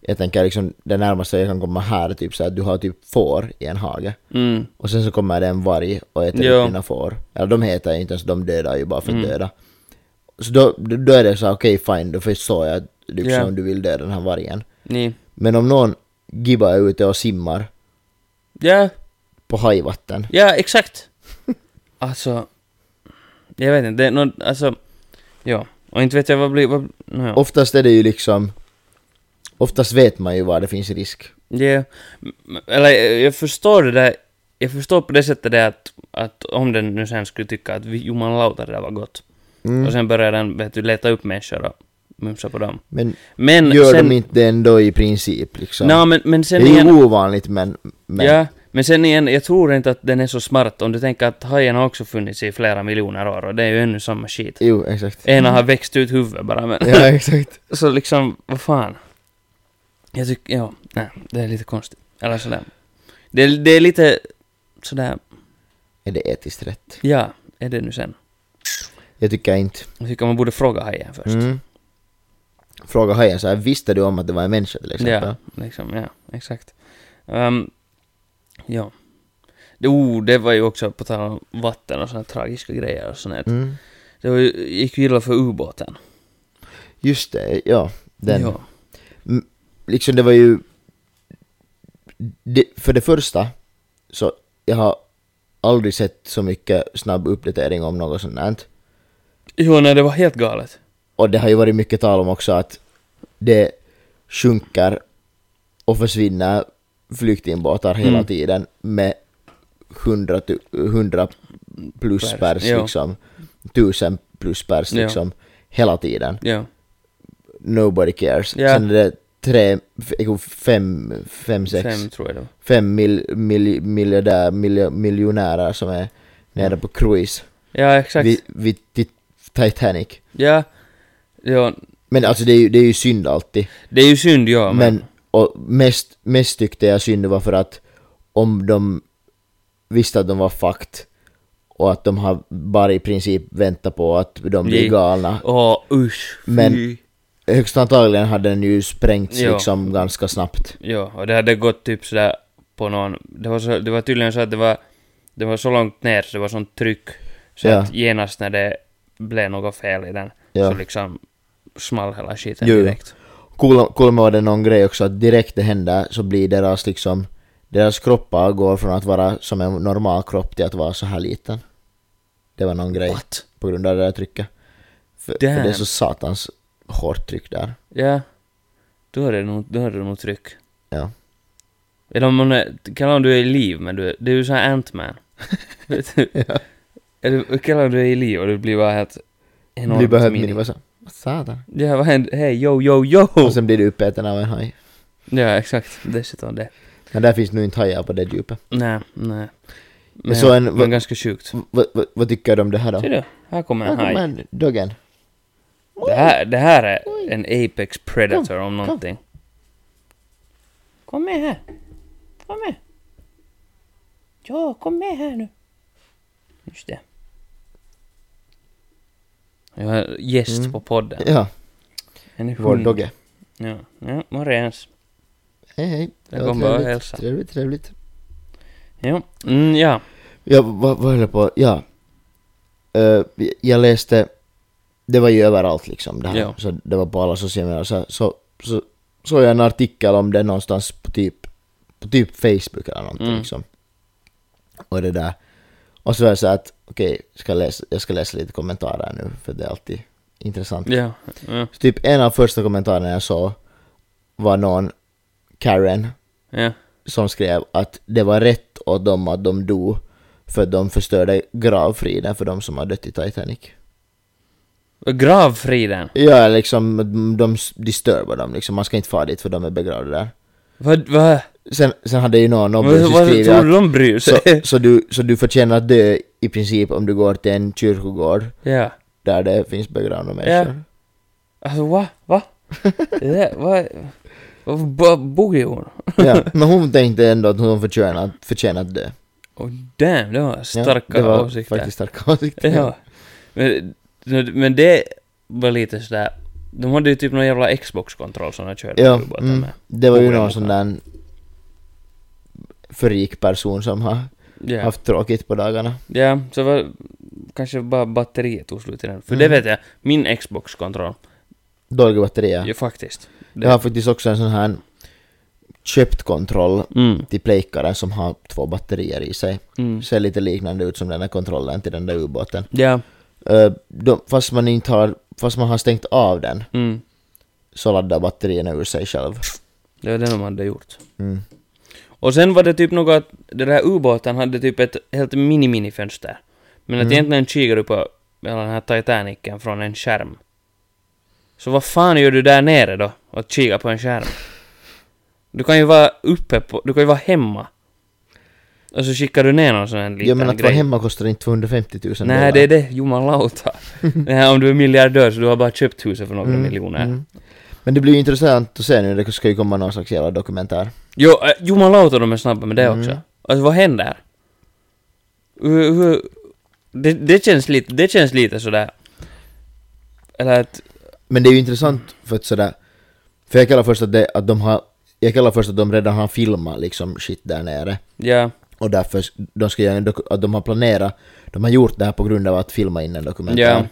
Speaker 3: Jag tänker liksom, det närmaste jag kan komma här är typ så att du har typ får i en hage.
Speaker 2: Mm.
Speaker 3: Och sen så kommer det en varg och äter
Speaker 2: Jo.
Speaker 3: upp dina får. Eller de heter inte ens, de dödar ju bara för att döda. Så då, då då är det så här, okej fine, då förstår jag att liksom,
Speaker 2: Ja.
Speaker 3: du vill döda den här vargen.
Speaker 2: Ni.
Speaker 3: Men om någon gibba är ute och simmar
Speaker 2: Ja,
Speaker 3: på hajvatten.
Speaker 2: ja, exakt. alltså, jag vet inte. Det är någon, alltså, ja. Och inte vet jag vad blir... Vad, nå ja.
Speaker 3: Oftast är det ju liksom... Oftast vet man ju var det finns risk.
Speaker 2: Ja, m- eller eh, jag jag förstår det där. Jag förstår på det sättet det att, att om den nu sen skulle tycka att vi- jumalauta det där var gott.
Speaker 3: Mm.
Speaker 2: Och sen börjar den vet du, leta upp människor och mumsa på dem.
Speaker 3: Men
Speaker 2: Men
Speaker 3: gör
Speaker 2: Mm, sen...
Speaker 3: de inte det ändå i princip liksom?
Speaker 2: Nå, men, men sen
Speaker 3: det är ju
Speaker 2: igen...
Speaker 3: ovanligt men... men
Speaker 2: Ja, men sen igen, jag tror inte att den är så smart om du tänker att hajen har också funnits i flera miljoner år och det är ju ännu samma skit.
Speaker 3: Jo, exakt.
Speaker 2: Ena har växt ut huvudet bara men...
Speaker 3: Ja, exakt.
Speaker 2: Så liksom, vad fan. Jag tycker, ja, nej, det är lite konstigt. Eller sådär. Det, är- det är lite sådär,
Speaker 3: Är det etiskt rätt?
Speaker 2: ja, är det nu sen?
Speaker 3: Jag tycker inte.
Speaker 2: Jag tycker man borde fråga hajen först.
Speaker 3: Mm. Fråga hajen så här, visste du om att det var en människa till exempel?
Speaker 2: ja, liksom, ja, exakt. Ehm, ja. Det, oh, det var ju också, på tal om vatten och sådana tragiska grejer och sånt där.
Speaker 3: Mm.
Speaker 2: Det var, ju- gick ju illa för ubåten.
Speaker 3: Just det, ja. Den.
Speaker 2: Ja.
Speaker 3: Liksom det var ju... Det, för det första, så jag har aldrig sett så mycket snabb uppdatering om något sånt här.
Speaker 2: Jo, nej, det var helt galet.
Speaker 3: Och det har ju varit mycket tal om också att det sjunker och försvinner flyktingbåtar hela
Speaker 2: Mm.
Speaker 3: tiden med 100, tu- 100 plus
Speaker 2: Pers,
Speaker 3: pers,
Speaker 2: ja.
Speaker 3: liksom. Tusen plus pers
Speaker 2: Ja.
Speaker 3: liksom. Hela tiden.
Speaker 2: Ja.
Speaker 3: Nobody cares.
Speaker 2: Ja.
Speaker 3: Sen är det tre, f- jo, fem, fem, sex,
Speaker 2: Fem tror jag det var.
Speaker 3: fem mil, mil, miljardär, mil, miljonärer som är nere på cruise
Speaker 2: Ja, exakt.
Speaker 3: vid, vid Tit- Titanic.
Speaker 2: Ja. ja.
Speaker 3: Men alltså det är ju, det är ju synd alltid.
Speaker 2: Det är ju synd, ja. Men,
Speaker 3: Men och mest, mest tyckte jag synd var för att om de visste att de var fucked och att de har bara i princip väntat på att de blir
Speaker 2: Ja.
Speaker 3: galna.
Speaker 2: Åh, oh, usch. fy.
Speaker 3: Men- Högst antagligen hade den ju sprängts
Speaker 2: Ja.
Speaker 3: liksom ganska snabbt.
Speaker 2: Ja, och det hade gått typ sådär på någon... Det var, så, det var tydligen så att det var, det var så långt ner så det var sånt tryck. Så
Speaker 3: Ja.
Speaker 2: att genast när det blev något fel i den
Speaker 3: Ja.
Speaker 2: så liksom small hela skiten
Speaker 3: Jo, jo.
Speaker 2: direkt.
Speaker 3: Kul- Kul med var det någon grej också att direkt det händer så blir deras liksom deras kroppar går från att vara som en normal kropp till att vara så här liten. Det var någon grej
Speaker 2: What?
Speaker 3: på grund av det där trycket. För, för det är
Speaker 2: Damn.
Speaker 3: så satans hårt tryck där.
Speaker 2: Ja. Då är det nog, då är det nog tryck.
Speaker 3: Ja.
Speaker 2: Eller om man är, kallar om du är i liv, men du är, det är ju såhär Ant-Man. Vet du? Eller kallar om du är i liv och du blir bara helt enormt
Speaker 3: Blir behövd
Speaker 2: mini.
Speaker 3: mini. Vad sa- vad satan?
Speaker 2: Ja, vad händer? Hej, yo, yo, yo!
Speaker 3: Och sen blir du uppäten av en haj.
Speaker 2: Ja, exakt. Dessutom det.
Speaker 3: Men där finns nog inte hajar på det djupet.
Speaker 2: Nej, nej. Men,
Speaker 3: Men så en-
Speaker 2: men ganska sjukt.
Speaker 3: Vad- vad- vad tycker du om det här då?
Speaker 2: Ser du? Här kommer en haj.
Speaker 3: Men doggen.
Speaker 2: Det här, det här är en apex predator om någonting. Kom med här. Kom med. Ja, kom med här nu. Just det. Jag har gäst på podden.
Speaker 3: Mm. Ja,
Speaker 2: En
Speaker 3: vår
Speaker 2: hund.
Speaker 3: dogge.
Speaker 2: Ja, ja morgens.
Speaker 3: Hej hej.
Speaker 2: Den
Speaker 3: Ja,
Speaker 2: kom bara och
Speaker 3: trevligt,
Speaker 2: hälsa.
Speaker 3: Trevligt, trevligt.
Speaker 2: Ja, mm, ja.
Speaker 3: Ja, vad, vad höll jag på? Ja. Eh, jag läste, det var ju överallt liksom det här.
Speaker 2: Ja.
Speaker 3: Så det var på alla sociala medier. Så, så, så såg jag en artikel om det någonstans på typ, på typ Facebook eller någonting
Speaker 2: Mm.
Speaker 3: liksom. Och det där. Och så var jag så här att, okej, ska jag, läsa, jag ska läsa lite kommentarer nu för det är alltid intressant.
Speaker 2: ja, ja,
Speaker 3: Så typ en av första kommentarerna jag såg var någon Karen
Speaker 2: ja.
Speaker 3: som skrev att det var rätt åt dem att de dog för att de förstörde gravfriden för de som har dött i Titanic.
Speaker 2: Gravfriden.
Speaker 3: Ja, liksom de s- disturbar dem liksom. Man ska inte fara dit för de är begravda där.
Speaker 2: Vad, vad?
Speaker 3: Sen, sen hade ju någon
Speaker 2: Vad,
Speaker 3: obviously
Speaker 2: vad
Speaker 3: skrivit
Speaker 2: tror du
Speaker 3: att
Speaker 2: de bryr
Speaker 3: så,
Speaker 2: sig?
Speaker 3: så, du, så du förtjänar att dö i princip om du går till en kyrkogård
Speaker 2: Ja.
Speaker 3: där det finns begravda människor.
Speaker 2: Alltså va? Va? Det där, vad... Varför bo- bor ju hon?
Speaker 3: Ja, men hon tänkte ändå att hon förtjänar, förtjänar att dö.
Speaker 2: Oh, damn, det var
Speaker 3: Ja,
Speaker 2: starka
Speaker 3: det var
Speaker 2: åsikter.
Speaker 3: faktiskt starka åsikter.
Speaker 2: Ja. Men, men det var lite sådär... De hade ju typ någon jävla Xbox-kontroll som de körde
Speaker 3: Ja,
Speaker 2: ubåtar
Speaker 3: mm,
Speaker 2: med.
Speaker 3: det var ju
Speaker 2: Oerhört
Speaker 3: någon sån där för rik person som har
Speaker 2: Ja.
Speaker 3: haft tråkigt på dagarna.
Speaker 2: ja, så var kanske bara batteriet tog slut i den. För det
Speaker 3: Mm.
Speaker 2: vet jag, min Xbox-kontroll,
Speaker 3: Dåliga batterier.
Speaker 2: ju faktiskt. Det,
Speaker 3: Jag har faktiskt också en sån här köpt kontroll
Speaker 2: Mm,
Speaker 3: till plejkaren som har två batterier i sig.
Speaker 2: mm.
Speaker 3: Ser lite liknande ut som den här kontrollen till den där ubåten.
Speaker 2: Ja,
Speaker 3: Eh, de, fast, man inte har, fast man har stängt av den
Speaker 2: mm.
Speaker 3: så laddar batterierna ur sig själv.
Speaker 2: Det var det de hade gjort.
Speaker 3: Mm.
Speaker 2: Och sen var det typ något att den här ubåten hade typ ett helt mini-mini-fönster. Men att
Speaker 3: Mm.
Speaker 2: egentligen kikar du på hela den här Titanicen från en skärm. Så vad fan gör du där nere då? Och kika på en skärm? Du kan ju vara uppe på... Du kan ju vara hemma. Och så skickar du ner någon sån här liten
Speaker 3: Jag menar att vara
Speaker 2: grej.
Speaker 3: hemma kostar inte 250 000
Speaker 2: Nej, det är det. Jumalauta. Nej, om du är miljardär så du har bara köpt huset för några
Speaker 3: Mm,
Speaker 2: miljoner.
Speaker 3: mm. Men det blir ju intressant att se nu, det ska ju komma någon slags jävla dokumentär.
Speaker 2: Jo, äh, jumalauta de är snabba med det
Speaker 3: Mm.
Speaker 2: också. Alltså vad händer? Hur, hur, det, det känns lite, det känns lite sådär... Eller att...
Speaker 3: Men det är ju intressant för att sådär, för jag kallar först att, det, att de har, jag kallar först att de redan har filmat liksom shit där nere.
Speaker 2: Ja,
Speaker 3: Och därför, s- de ska göra en doku- att de har planerat, de har gjort det här på grund av att filma in en dokumentär.
Speaker 2: Ja.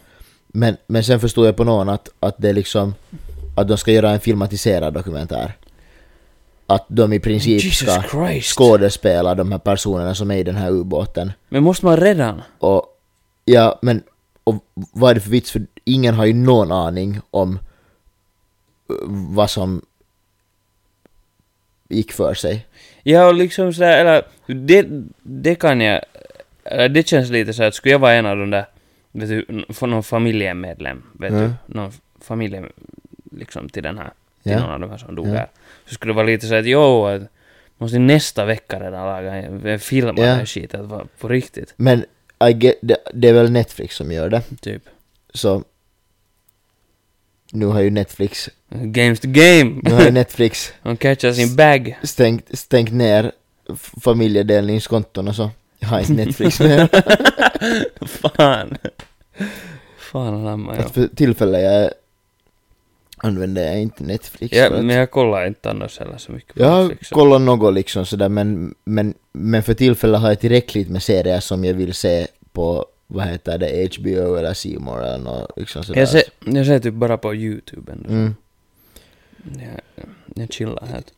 Speaker 3: Men, men sen förstod jag på någon att, att det är liksom, att de ska göra en filmatiserad dokumentär. Att de i princip
Speaker 2: Jesus
Speaker 3: ska
Speaker 2: Christ!
Speaker 3: skådespela de här personerna som är i den här ubåten.
Speaker 2: Men måste man redan?
Speaker 3: Och, ja, men och vad är det för vits? För ingen har ju någon aning om eh, vad som gick för sig.
Speaker 2: Ja, och liksom sådär, eller... Det, det kan jag... Eller det känns lite så att skulle jag vara en av de där... Vet du, n- för någon familjemedlem, vet
Speaker 3: Mm.
Speaker 2: du? Någon familje... Liksom till den här till
Speaker 3: Ja.
Speaker 2: någon av de här som dog
Speaker 3: Ja.
Speaker 2: där. Så skulle det vara lite så här att jo, att måste ni nästa vecka redan laga en en film av
Speaker 3: Ja.
Speaker 2: den här skiten, att vara på riktigt.
Speaker 3: Men I get, det, det är väl Netflix som gör det.
Speaker 2: Typ.
Speaker 3: Så nu har ju Netflix,
Speaker 2: Games to game!
Speaker 3: nu har ju Netflix
Speaker 2: De catchar sin bag.
Speaker 3: stängt, stängt ner f- familjedelningskonton och så. Jag har inte Netflix mer.
Speaker 2: Fan. Fan anamma, ja.
Speaker 3: Att för tillfället jag använder jag inte Netflix.
Speaker 2: ja.
Speaker 3: för att-
Speaker 2: Men jag kollar inte annars heller så mycket på
Speaker 3: jag har
Speaker 2: Netflix.
Speaker 3: kollat något liksom sådär men, men, men för tillfället har jag tillräckligt med serier som jag vill se på vad heter det, HBO eller C More eller något liksom sådär.
Speaker 2: jag, ser, jag ser typ bara på YouTube ändå.
Speaker 3: Mm.
Speaker 2: Jag, jag chillar helt.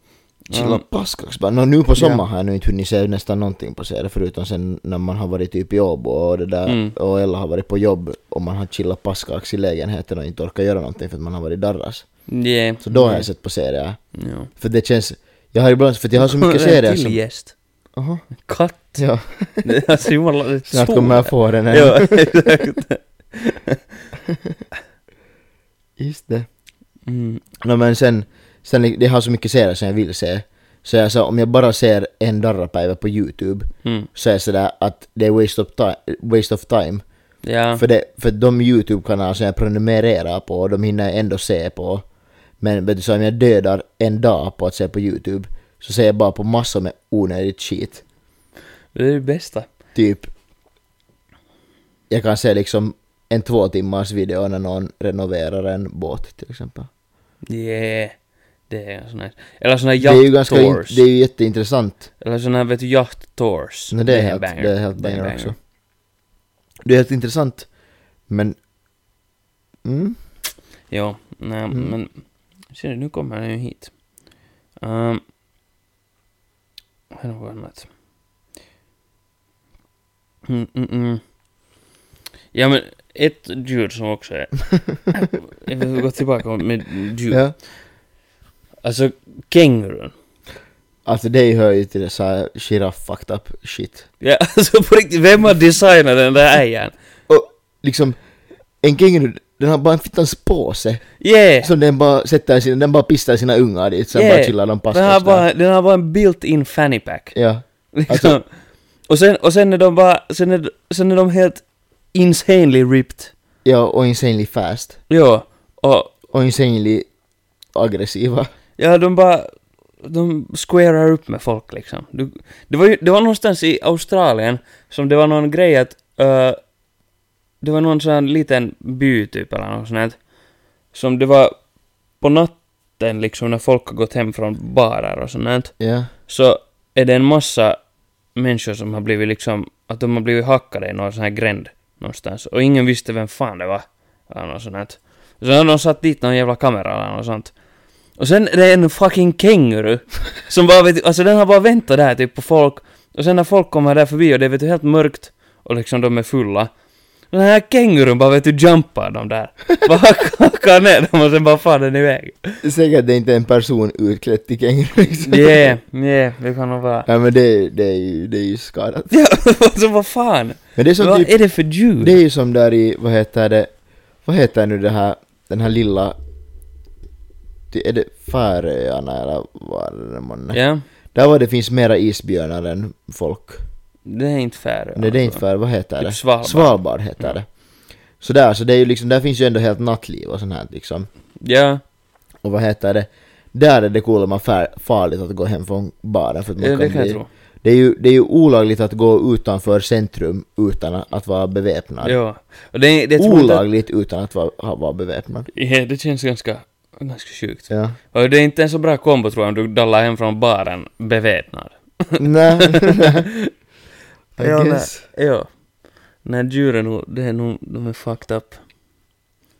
Speaker 3: Chilla
Speaker 2: Ja.
Speaker 3: paskax Mm. bara. Nå, nu på sommaren
Speaker 2: Ja.
Speaker 3: har jag nu inte hunnit se nästan någonting på serier förutom sen när man har varit typ i Åbo och det där
Speaker 2: Mm.
Speaker 3: och Ella har varit på jobb och man har chillat paskax i lägenheten och inte orkar göra någonting för att man har varit darras.
Speaker 2: Yeah.
Speaker 3: Så då har jag sett på serier.
Speaker 2: Ja.
Speaker 3: För det känns, jag har ibland, för att jag har så mycket
Speaker 2: Det är en
Speaker 3: serier
Speaker 2: till
Speaker 3: som...
Speaker 2: gäst.
Speaker 3: Aha.
Speaker 2: Katt.
Speaker 3: Ja,
Speaker 2: Det är Alltså jumala, det är
Speaker 3: snart kommer jag
Speaker 2: sol.
Speaker 3: få den här.
Speaker 2: Ja, exakt.
Speaker 3: Just det.
Speaker 2: Mm.
Speaker 3: No, men sen, sen, det har så mycket serier som jag vill se. Så jag sa, om jag bara ser en darrapäivä på YouTube
Speaker 2: Mm.
Speaker 3: så är det sådär att det är waste of, ti- waste of time.
Speaker 2: Ja.
Speaker 3: För, det, för de YouTube-kanaler som jag prenumererar på, de hinner jag ändå se på. Men vet du, så om jag dödar en dag på att se på YouTube så ser jag bara på massor med onödigt shit.
Speaker 2: Det är det bästa.
Speaker 3: Typ, jag kan se liksom en två timmars video när någon renoverar en båt till exempel.
Speaker 2: Yeah. Det är sån här. Eller sån här
Speaker 3: Det är ju
Speaker 2: yacht
Speaker 3: ganska, in,
Speaker 2: tours.
Speaker 3: det är ju jätteintressant.
Speaker 2: Eller sån här vet du, yacht tours.
Speaker 3: Nej, det, är
Speaker 2: en
Speaker 3: helt,
Speaker 2: banger.
Speaker 3: det är helt
Speaker 2: Det är en
Speaker 3: banger också. Det är helt intressant, men... Mm,
Speaker 2: Jo, nej
Speaker 3: Mm.
Speaker 2: men... Ser du, nu kommer han ju hit. Um, här har vi annat. Mm, mm, mm. Ja men, ett ljud som också är... jag vill gå tillbaka med ljud.
Speaker 3: ja.
Speaker 2: Alltså, kängurun.
Speaker 3: Alltså det hör ju till så här giraff fucked up shit.
Speaker 2: Ja, alltså på riktigt, vem har designat den där ägaren?
Speaker 3: Och liksom, en känguru, den har bara en fittans påse
Speaker 2: Yeah!
Speaker 3: som den bara sätter sina, den bara pistar sina ungar dit, sen
Speaker 2: Yeah.
Speaker 3: bara chillar de
Speaker 2: Den har,
Speaker 3: pastas där.
Speaker 2: bara, den har bara en built-in fanny pack.
Speaker 3: Ja.
Speaker 2: Liksom.
Speaker 3: Alltså-
Speaker 2: och, sen, och sen är de bara, sen är, sen är de helt insanely ripped.
Speaker 3: ja, och insanely fast.
Speaker 2: Ja, och
Speaker 3: Och insanely aggressiva.
Speaker 2: ja, de bara, de squarar upp med folk liksom. Du, det, var ju, det var någonstans i Australien som det var någon grej att, eh, det var någon sån här liten by typ eller något sånt här, som det var på natten liksom när folk har gått hem från barer och sånt här,
Speaker 3: Ja.
Speaker 2: så är det en massa människor som har blivit liksom, att de har blivit hackade i någon sån här gränd någonstans och ingen visste vem fan det var. Eller något sånt. här. Och sen har de satt dit någon jävla kamera eller något sånt. Och sen är det en fucking känguru som bara vet, alltså den har bara väntat där typ på folk och sen när folk kommer där förbi och det är vet du helt mörkt och liksom de är fulla den här kängurun bara vet du jumpar dem där. Bara hackar hackar ner dem och sen bara far den iväg.
Speaker 3: Säkert det är inte en person utklädd till känguru liksom.
Speaker 2: Yeah, yeah, det kan nog vara.
Speaker 3: Ja men det, det, är ju, det är ju skadat.
Speaker 2: Ja, alltså vad fan?
Speaker 3: Men det är som
Speaker 2: Vad
Speaker 3: typ,
Speaker 2: är det för djur?
Speaker 3: det är ju som där i, vad heter det, vad heter nu det här, den här lilla, det, är det Färöarna eller vad är det månne?
Speaker 2: Ja,
Speaker 3: Där var det finns mera isbjörnar än folk.
Speaker 2: det är inte Färöarna.
Speaker 3: Nej det är inte
Speaker 2: tror
Speaker 3: för, vad heter
Speaker 2: Typ
Speaker 3: det?
Speaker 2: Svalbard.
Speaker 3: Svalbard heter
Speaker 2: Ja.
Speaker 3: det. Så där, så det är ju liksom, där finns ju ändå helt nattliv och sånt här liksom.
Speaker 2: jag. Ja,
Speaker 3: Och vad heter det? Där är det coolare far, farligt att gå hem från baren för att man
Speaker 2: ja, det
Speaker 3: kan
Speaker 2: kan jag
Speaker 3: bli...
Speaker 2: tro.
Speaker 3: Det är, ju, det är ju olagligt att gå utanför centrum utan att vara beväpnad.
Speaker 2: Ja. Och det, det tror jag inte...
Speaker 3: Olagligt utan att vara, ha- vara beväpnad.
Speaker 2: Ja, det känns ganska, ganska sjukt.
Speaker 3: Ja.
Speaker 2: Och det är inte en så bra kombo tror jag om du dallar hem från baren beväpnad.
Speaker 3: Nej. I
Speaker 2: Ja, nej.
Speaker 3: guess.
Speaker 2: Ja. Nej, djuren, nog- det är nog, de är fucked up.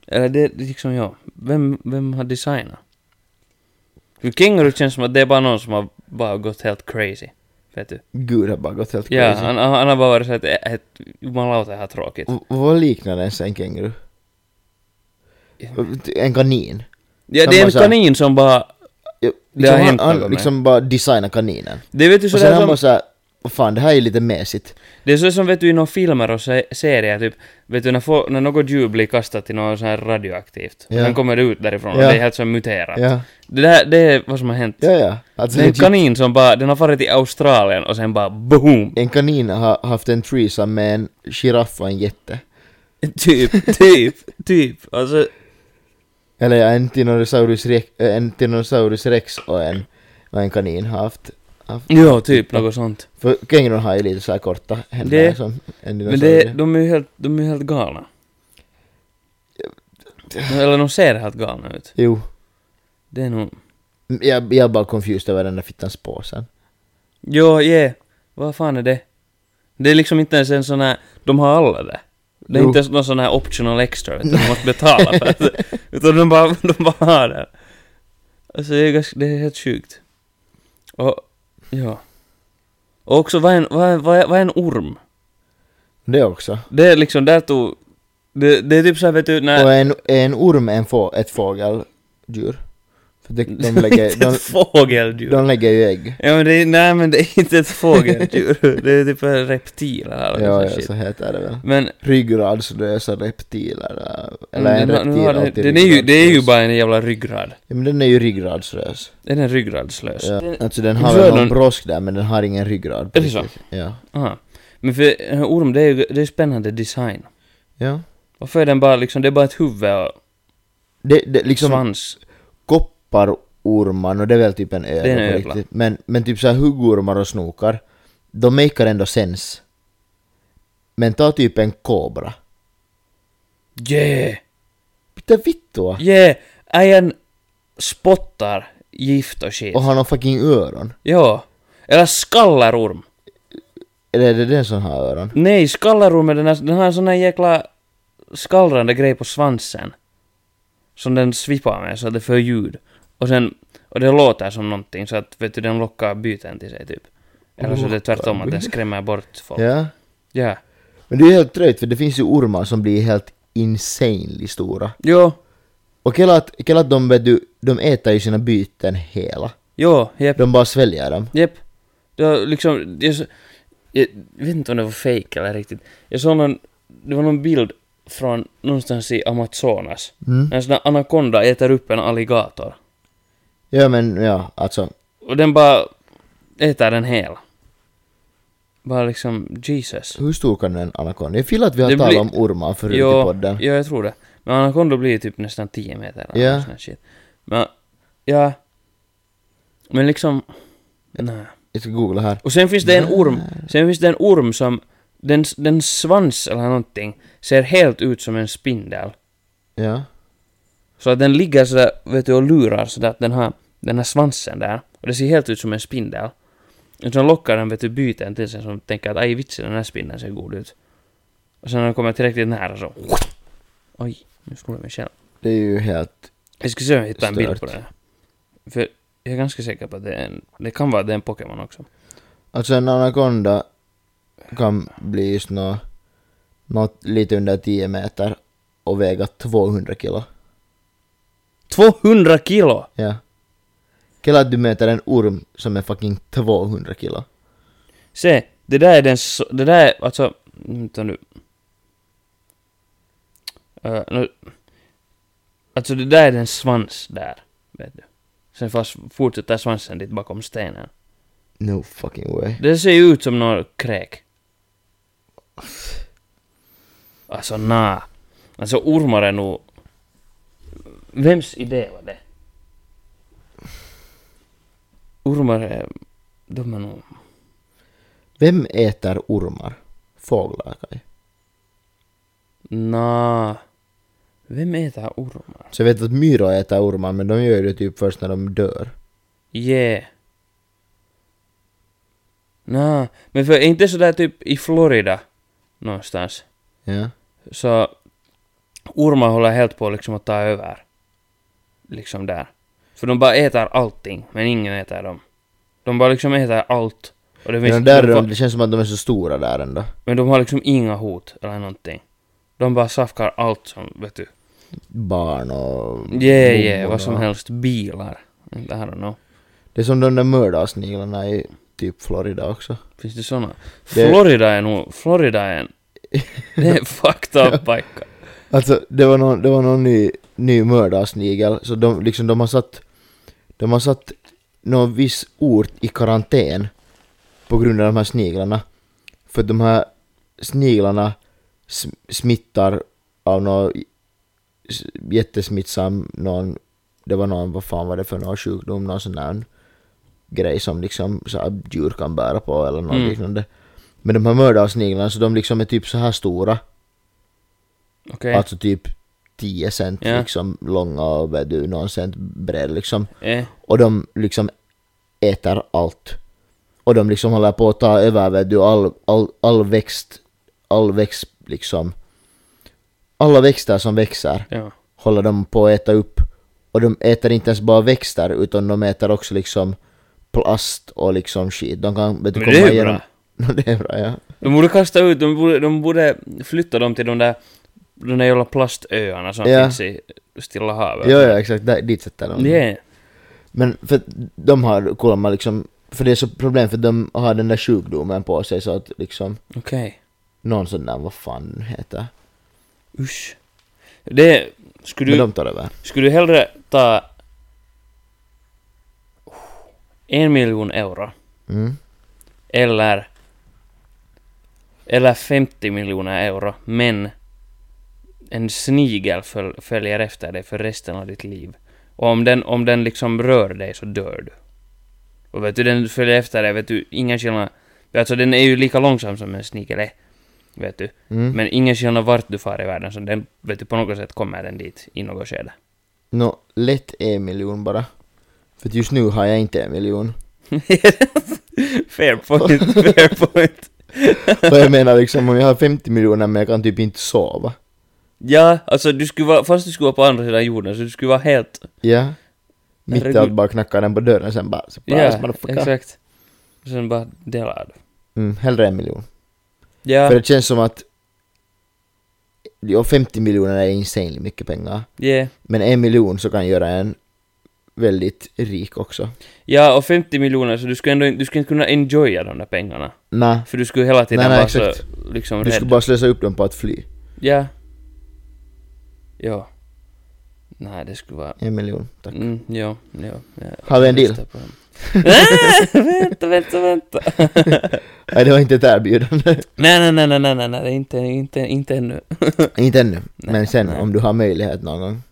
Speaker 2: Eller det är liksom, ja. Vem, vem har designat? För känguru känns som att det är bara någon som har bara gått helt crazy. Vet du?
Speaker 3: Gud har bara gått helt
Speaker 2: Ja,
Speaker 3: crazy.
Speaker 2: han, han har bara varit så att, att jumalauta, det här är tråkigt.
Speaker 3: V- Vad liknar ens en känguru? En kanin?
Speaker 2: Ja,
Speaker 3: Som
Speaker 2: det är
Speaker 3: bara
Speaker 2: en
Speaker 3: så här-
Speaker 2: kanin som bara...
Speaker 3: Ja,
Speaker 2: Det har
Speaker 3: liksom
Speaker 2: hänt
Speaker 3: han,
Speaker 2: något
Speaker 3: han
Speaker 2: med.
Speaker 3: liksom bara designar kaninen.
Speaker 2: Det vet du
Speaker 3: Och sen
Speaker 2: sådär
Speaker 3: han
Speaker 2: som...
Speaker 3: bara såhär, vad fan det här är ju lite mesigt.
Speaker 2: Det är så som vet du i några filmer och se- serier, typ, vet du när, få, när något djur blir kastat till något så här radioaktivt,
Speaker 3: Ja.
Speaker 2: och sen kommer det ut därifrån och
Speaker 3: Ja.
Speaker 2: det är helt så muterat.
Speaker 3: Ja,
Speaker 2: Det, där, det är vad som har hänt.
Speaker 3: ja, ja. Alltså,
Speaker 2: Det är en
Speaker 3: legit,
Speaker 2: kanin som bara, den har farit till Australien och sen bara boom!
Speaker 3: en kanin har haft en threesome med en giraff och en jätte.
Speaker 2: Typ, typ, typ. Alltså,
Speaker 3: Eller ja, en Tyrannosaurus rex, äh, en Tyrannosaurus rex och en, och en kanin har haft. haft.
Speaker 2: ja, typ något sånt.
Speaker 3: För kängurun har ju lite så här korta händer
Speaker 2: Det-
Speaker 3: som
Speaker 2: Men
Speaker 3: en
Speaker 2: det,
Speaker 3: dinosaurie.
Speaker 2: de är ju helt, de är ju helt galna. Eller de ser helt galna ut.
Speaker 3: Jo,
Speaker 2: Det är nog...
Speaker 3: jag, jag är bara confused över den där fittans påsen.
Speaker 2: Jo, yeah. Vad fan är det? Det är liksom inte ens en sån här... De har alla det. Det är
Speaker 3: Jo.
Speaker 2: inte ens någon sån här optional extra, vet du. De måste betala för det. Utan de bara, de bara har det. Alltså det är, ganska, det är helt sjukt. Och, ja. Och också, vad är en, vad är, vad är, vad är en orm?
Speaker 3: Det också.
Speaker 2: Det är liksom, där tog... Det, det är typ såhär, vet du, när...
Speaker 3: Och är en, är en orm en få, ett fågeldjur? För det, de, lägger,
Speaker 2: inte
Speaker 3: de,
Speaker 2: ett fågeldjur.
Speaker 3: de lägger ju ägg.
Speaker 2: Ja men det är, nej men det är inte ett fågeldjur. det är typ en reptil eller
Speaker 3: Ja,
Speaker 2: ja,
Speaker 3: ja,
Speaker 2: shit.
Speaker 3: så heter det väl.
Speaker 2: Men
Speaker 3: Ryggradslösa reptiler. äh, Eller en
Speaker 2: Mm, den-
Speaker 3: reptil
Speaker 2: nu har den-
Speaker 3: alltid
Speaker 2: den är ju, Det är ju
Speaker 3: ryggradslös.
Speaker 2: bara en jävla ryggrad.
Speaker 3: Ja, men den är ju ryggradslös.
Speaker 2: Är den ryggradslös?
Speaker 3: Ja.
Speaker 2: Den-
Speaker 3: Alltså den har
Speaker 2: Gör
Speaker 3: väl någon
Speaker 2: den-
Speaker 3: brosk där men den har ingen ryggrad. på
Speaker 2: Är det så?
Speaker 3: riktigt. Ja.
Speaker 2: Aha. Men för en orm, det är ju det är spännande design.
Speaker 3: ja.
Speaker 2: Varför är den bara liksom, det är bara ett huvud och
Speaker 3: Det, det, liksom
Speaker 2: svans?
Speaker 3: kopparormar, och det är väl typ en ödla
Speaker 2: Det är en
Speaker 3: på
Speaker 2: ödla.
Speaker 3: riktigt. Men, men typ så här huggormar och snokar, de makear ändå sens. Men ta typ en kobra.
Speaker 2: Yeah!
Speaker 3: Mitä vittua?
Speaker 2: Yeah! Ägen spottar gift och shit.
Speaker 3: Och har någon fucking öron?
Speaker 2: Ja. Eller skallarorm.
Speaker 3: Eller är det den som har öron?
Speaker 2: Nej, skallarorm är den här, den har en sån här jäkla skallrande grej på svansen. Som den svippar med så att det för ljud. Och sen, och det låter som någonting så att vet du, den lockar byten till sig typ. Eller så är det tvärtom att den skrämmer bort folk.
Speaker 3: Ja.
Speaker 2: Ja.
Speaker 3: Men det är helt trögt för det finns ju ormar som blir helt insanely stora.
Speaker 2: Jo,
Speaker 3: Och hela att, hela att de, vet du, de äter ju sina byten hela.
Speaker 2: jo, jepp,
Speaker 3: De bara sväljer dem.
Speaker 2: jepp. Det var liksom, jag, så- jag vet inte om det var fejk eller riktigt. Jag såg någon, det var någon bild från någonstans i Amazonas.
Speaker 3: Mm.
Speaker 2: När En sån här anakonda äter upp en alligator.
Speaker 3: Ja men ja, alltså.
Speaker 2: Och den bara äter den hel. Bara liksom, Jesus.
Speaker 3: Hur stor kan en anakonda? Jag gillar att vi har
Speaker 2: Det
Speaker 3: talat
Speaker 2: blir-
Speaker 3: om ormar förut i
Speaker 2: Jo,
Speaker 3: typ podden.
Speaker 2: ja, jag tror det. Men anakonda blir typ nästan 10 meter eller
Speaker 3: Ja.
Speaker 2: något sånt här shit. Men, ja. Men liksom, nej.
Speaker 3: Jag ska googla här.
Speaker 2: Och sen finns det en orm, sen finns det en orm som, den, den svans eller någonting ser helt ut som en spindel.
Speaker 3: Ja.
Speaker 2: Så att den ligger sådär, vet du, och lurar sådär att den har den här svansen där. Och det ser helt ut som en spindel. Och sen lockar den, vet du, byten till sig som tänker att aj vitsen, den här spindeln ser god ut. Och sen när den kommer tillräckligt nära så... Oj, nu slog jag mig själv.
Speaker 3: Det är ju helt...
Speaker 2: Jag ska se om jag hittar en bild på
Speaker 3: Stört.
Speaker 2: det. För jag är ganska säker på att det är en, det kan vara att det är en Pokémon också.
Speaker 3: Alltså en anakonda kan bli just nå... Något lite under 10 meter och väga 200 kilo.
Speaker 2: 200 kilo!
Speaker 3: Ja. Killa att du möter en orm som är fucking 200 kilo.
Speaker 2: Se, det där är den så, det där är alltså, vänta nu. Eh, nu. Alltså det där är den svans där, vet du. Sen fast fortsätter svansen dit bakom stenen.
Speaker 3: No fucking way.
Speaker 2: Det ser ju ut som någon kräk. Alltså na. Alltså ormar är nog... Vems idé var det? Ormar är... De är nog...
Speaker 3: Vem äter ormar? Fåglar kaj.
Speaker 2: Nå. Vem äter ormar?
Speaker 3: Så jag vet att myror äter ormar men de gör det typ först när de dör.
Speaker 2: Yeah. Nå, men för är inte sådär typ i Florida någonstans
Speaker 3: Ja.
Speaker 2: så ormar håller helt på liksom att ta över. Liksom där. För de bara äter allting, men ingen äter dem. De bara liksom äter allt. Och det
Speaker 3: Men
Speaker 2: finns,
Speaker 3: de där,
Speaker 2: de
Speaker 3: de,
Speaker 2: fa-
Speaker 3: det känns som att de är så stora där ändå.
Speaker 2: men de har liksom inga hot eller någonting. De bara safkar allt som, vet du.
Speaker 3: Barn och...
Speaker 2: Yeah,
Speaker 3: Mm, blommor
Speaker 2: yeah, vad som
Speaker 3: och-
Speaker 2: helst. Bilar. I don't know.
Speaker 3: Det är som de där mördarsniglarna i typ Florida också.
Speaker 2: Finns det såna?
Speaker 3: Det-
Speaker 2: Florida är nog... Florida är en... Det är en fucked up pojkar.
Speaker 3: Alltså det var någon, det var någon ny, ny mördarsnigel, så de, liksom, de har satt, de har satt någon viss ort i karantän på grund av de här sniglarna. För att de här sniglarna sm- smittar av någon i- s- jättesmittsam, någon, det var någon, vad fan var det för någon sjukdom, någon sån där grej som liksom så här, djur kan bära på eller något
Speaker 2: Mm.
Speaker 3: liknande. Men de här mördarsniglarna, så de liksom är typ så här stora.
Speaker 2: Okej.
Speaker 3: Alltså typ 10 cent
Speaker 2: Ja.
Speaker 3: liksom långa och vet du, någon cent bred liksom.
Speaker 2: Eh.
Speaker 3: Och de liksom äter allt. Och de liksom håller på att ta över vet du, all, all, all växt, all växt liksom. Alla växter som växer
Speaker 2: Ja.
Speaker 3: håller de på att äta upp. Och de äter inte ens bara växter utan de äter också liksom plast och liksom skit. De kan vet du,
Speaker 2: Men det är
Speaker 3: komma
Speaker 2: ju
Speaker 3: igenom...
Speaker 2: bra.
Speaker 3: det är bra. ja.
Speaker 2: De borde kasta ut, de borde, de borde flytta dem till de där, de där jävla plastöarna som
Speaker 3: Ja.
Speaker 2: finns i Stilla havet.
Speaker 3: Ja, ja exakt. Där, dit sätter de.
Speaker 2: Yeah.
Speaker 3: Men för att de har kolmar liksom, för det är så problem för de har den där sjukdomen på sig så att liksom
Speaker 2: Okej.
Speaker 3: någon sån där, vad fan den heter.
Speaker 2: Usch. Det, skulle
Speaker 3: Men
Speaker 2: du,
Speaker 3: de tar över.
Speaker 2: skulle du hellre ta en miljon euro
Speaker 3: Mm.
Speaker 2: eller eller 50 miljoner euro men en snigel föl, följer efter dig för resten av ditt liv. Och om den, om den liksom rör dig så dör du. Och vet du, den följer efter dig, vet du, ingen skillnad. Alltså den är ju lika långsam som en snigel är. Vet du.
Speaker 3: Mm.
Speaker 2: Men ingen skillnad vart du far i världen, så den, vet du, på något sätt kommer den dit i något skede.
Speaker 3: Nå, lätt en miljon bara. För att just nu har jag inte en miljon.
Speaker 2: fair point, fair point.
Speaker 3: Och jag menar liksom om jag har 50 miljoner men jag kan typ inte sova.
Speaker 2: Ja, alltså du skulle vara, fast du skulle vara på andra sidan jorden, så du skulle vara helt...
Speaker 3: Ja. Mitt i allt
Speaker 2: Herregud.
Speaker 3: bara knackar den på dörren sen bara
Speaker 2: Ja,
Speaker 3: surprise motherfucker.
Speaker 2: exakt. Och sen bara delar du.
Speaker 3: Mm, hellre en miljon.
Speaker 2: Ja,
Speaker 3: För det känns som att, ja 50 miljoner är insanely mycket pengar.
Speaker 2: yeah.
Speaker 3: Men en miljon så kan göra en väldigt rik också.
Speaker 2: ja, och 50 miljoner, så du skulle ändå inte- du skulle inte kunna enjoya de där pengarna.
Speaker 3: Nej,
Speaker 2: För du skulle hela tiden
Speaker 3: Nej, nej,
Speaker 2: vara
Speaker 3: exakt.
Speaker 2: så, liksom
Speaker 3: du
Speaker 2: rädd.
Speaker 3: skulle bara slösa upp dem på att fly.
Speaker 2: Ja. Ja. Nej, det skulle vara...
Speaker 3: En miljon, tack.
Speaker 2: Mm, ja, ja, ja.
Speaker 3: Har vi en deal?
Speaker 2: Lyssna på dem. Ah, vänta, vänta, vänta.
Speaker 3: Nej, det var inte ett erbjudande.
Speaker 2: Nej, nej, nej, nej, nej, nej, nej, inte, inte, inte ännu.
Speaker 3: inte ännu, men sen
Speaker 2: nej.
Speaker 3: om du har möjlighet någon gång.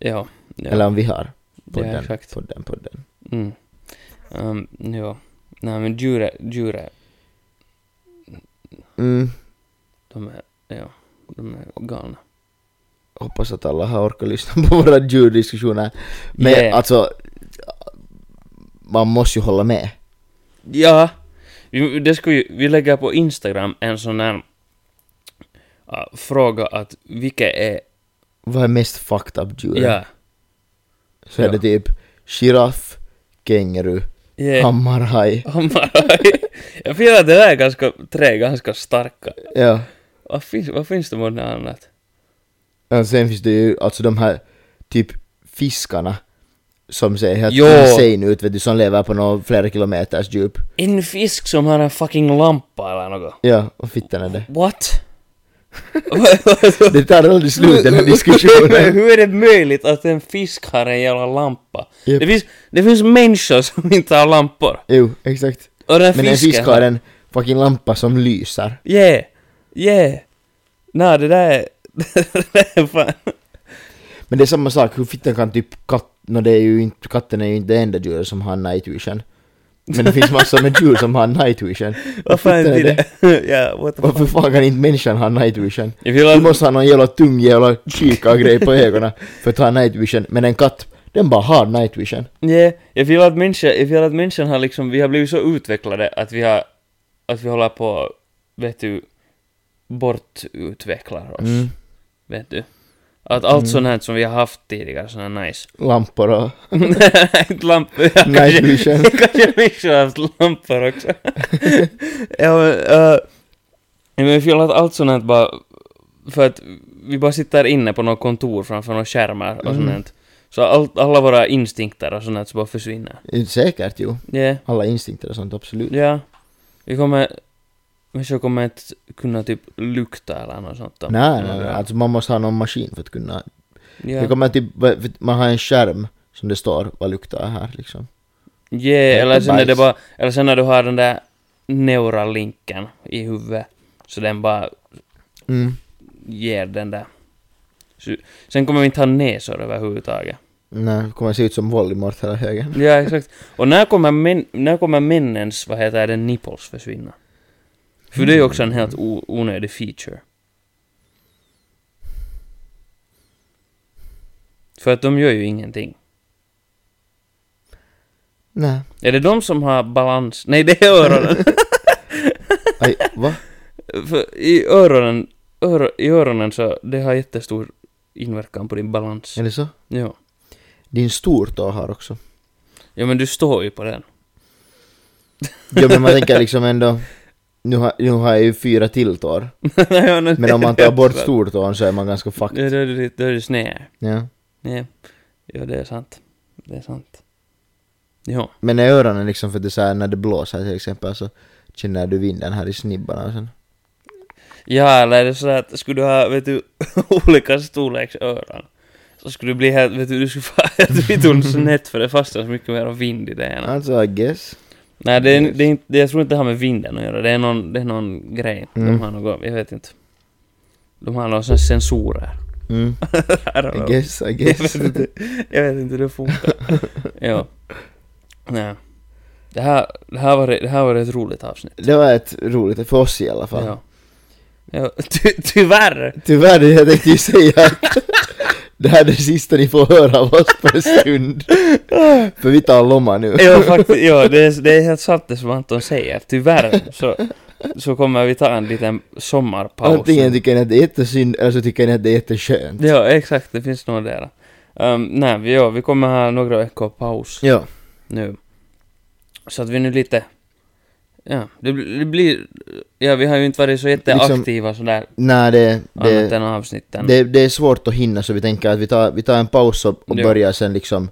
Speaker 2: Ja, ja.
Speaker 3: Eller om vi har. Podden,
Speaker 2: ja, exakt.
Speaker 3: podden, podden.
Speaker 2: Mm. Ehm, ja. Nej, men djure, djure,
Speaker 3: Mm.
Speaker 2: de är, ja, de är galna.
Speaker 3: Hoppas att alla har orkat lyssna på våra djurdiskussioner. Men
Speaker 2: Yeah.
Speaker 3: alltså, man måste ju hålla med.
Speaker 2: Ja, vi, det ska vi, vi lägger på Instagram en sån här ja, fråga att vilket är,
Speaker 3: Vad är mest fucked up djur?
Speaker 2: ja,
Speaker 3: Så är det
Speaker 2: Ja.
Speaker 3: typ giraff, känguru,
Speaker 2: ja,
Speaker 3: hammarhaj.
Speaker 2: hammarhaj. Jag finner att det där är ganska, tre ganska starka.
Speaker 3: Ja.
Speaker 2: Vad finns, vad finns det mot något annat?
Speaker 3: Ja, Äh, sen finns det ju alltså de här typ fiskarna som ser helt
Speaker 2: Jo.
Speaker 3: insane ut vet du, som lever på några flera kilometers djup.
Speaker 2: En fisk som har en fucking lampa eller något.
Speaker 3: Ja, och fittan är det.
Speaker 2: What?
Speaker 3: Det tar aldrig slut den här
Speaker 2: Men
Speaker 3: diskussionen.
Speaker 2: hur är det möjligt att en fisk har en jävla lampa?
Speaker 3: Japp.
Speaker 2: Det, finns, det finns människor som inte har lampor.
Speaker 3: Jo, exakt.
Speaker 2: Och den
Speaker 3: Men en
Speaker 2: fisken
Speaker 3: fisk har en fucking lampa som lyser.
Speaker 2: Yeah, yeah. Nej, det där är... det där är fan...
Speaker 3: Men det är samma sak, hur fittan kan typ katt... nå det är ju inte, katten är ju inte det enda djuret som har night vision. Men det finns massor med djur som har night vision.
Speaker 2: Vad fan
Speaker 3: fittan
Speaker 2: är det? Ja, what the fuck?
Speaker 3: Varför fan kan inte människan ha night vision?
Speaker 2: Jag vill
Speaker 3: Du
Speaker 2: ha...
Speaker 3: måste ha någon jävla tung jävla kikargrej på ögonen för att ha night vision. Men en katt, den bara har night vision.
Speaker 2: Yeah. Jag vill att människan, jag vill att människan har liksom, vi har blivit så utvecklade att vi har, att vi håller på, vet du, bortutvecklar oss.
Speaker 3: Mm.
Speaker 2: Vet du? Att allt sånt här som vi har haft tidigare, sånt här nice.
Speaker 3: Lampor och
Speaker 2: Inte lampor, ja,
Speaker 3: night
Speaker 2: kanske,
Speaker 3: vision.
Speaker 2: kanske människor har haft lampor också. ja men, eh, men jag vill att allt sånt här bara, för att vi bara sitter inne på något kontor framför några skärmar och sånt
Speaker 3: Mm.
Speaker 2: här. Så allt, alla våra instinkter och sånt där så bara försvinner.
Speaker 3: Säkert ju.
Speaker 2: Ja,
Speaker 3: Alla instinkter och sånt, absolut.
Speaker 2: ja. Vi kommer... Människor kommer inte kunna typ lukta eller något sånt. då.
Speaker 3: Nej, nej, nej. Alltså man måste ha någon maskin för att kunna...
Speaker 2: Ja.
Speaker 3: Det kommer typ, för att man har en skärm som det står vad luktar det här liksom.
Speaker 2: Yeah, eller sen, när det
Speaker 3: bajs.
Speaker 2: bara, eller sen när du har den där neuralinken i huvudet, så den bara
Speaker 3: Mm.
Speaker 2: ger den där. Så, sen kommer vi inte ha näsor överhuvudtaget.
Speaker 3: Nej, det kommer se ut som Voldemort hela högen.
Speaker 2: Ja, exakt. Och när kommer, män, när kommer männens, vad heter det, nipples försvinna? För det är ju också en helt o, onödig feature. För att de gör ju ingenting.
Speaker 3: Nej.
Speaker 2: Är det de som har balans? Nej, det är öronen.
Speaker 3: Aj, va?
Speaker 2: För i öronen, öro, i öronen så det har jättestor inverkan på din balans.
Speaker 3: Är det så?
Speaker 2: Ja.
Speaker 3: Din stortå har också.
Speaker 2: ja, men du står ju på den.
Speaker 3: Ja men man tänker liksom ändå... Nu har, nu har jag ju fyra tilltår.
Speaker 2: Nej, men-
Speaker 3: Men om man tar bort stortån så är man ganska fucked.
Speaker 2: Ja, då är det, då är det sned.
Speaker 3: Ja.
Speaker 2: Nej. Ja, det är sant. Det är sant. Ja.
Speaker 3: Men i öronen liksom för det är så här, när det blåser till exempel så känner du vinden här i snibbarna och sen.
Speaker 2: Ja, eller är det så att skulle du ha, vet du, olika storleks öron så skulle du bli helt, vet du, du skulle vara helt vitun snett för det fastnar så mycket mer vind i det ena.
Speaker 3: Alltså I guess.
Speaker 2: Nej, det är, det är inte, det, jag tror inte det har med vinden att göra. Det är någon, det är någon grej.
Speaker 3: Mm.
Speaker 2: De har något, jag vet inte. De har några såna sensorer.
Speaker 3: Mm.
Speaker 2: I don't know.
Speaker 3: I guess, I
Speaker 2: Jag
Speaker 3: guess.
Speaker 2: vet inte, jag vet inte hur det funkar. ja. Nej. Det här, det här var, det här var ett roligt avsnitt.
Speaker 3: Det var ett roligt, för oss i alla fall.
Speaker 2: Ja. ja ty, tyvärr!
Speaker 3: Tyvärr, jag tänkte ju säga att det här är det sista ni får höra av oss på en stund. För vi tar lomma nu.
Speaker 2: Ja, faktiskt, ja det, är, det är helt sant det som Anton säger. Tyvärr så, så kommer vi ta en liten sommarpaus.
Speaker 3: Antingen tycker ni att det är jättesynd, eller så tycker ni att det är jätteskönt.
Speaker 2: Ja, exakt. Det finns några där. Um, nej, vi, ja, vi kommer ha några veckor paus
Speaker 3: Ja.
Speaker 2: nu. Så att vi nu lite... Ja, det, bli- det blir... Ja, vi har ju inte varit så jätteaktiva sådär
Speaker 3: Nej, det,
Speaker 2: annat
Speaker 3: det,
Speaker 2: än avsnitten.
Speaker 3: det, det är svårt att hinna så vi tänker att vi tar, vi tar en paus och, och
Speaker 2: Ja.
Speaker 3: börjar sen liksom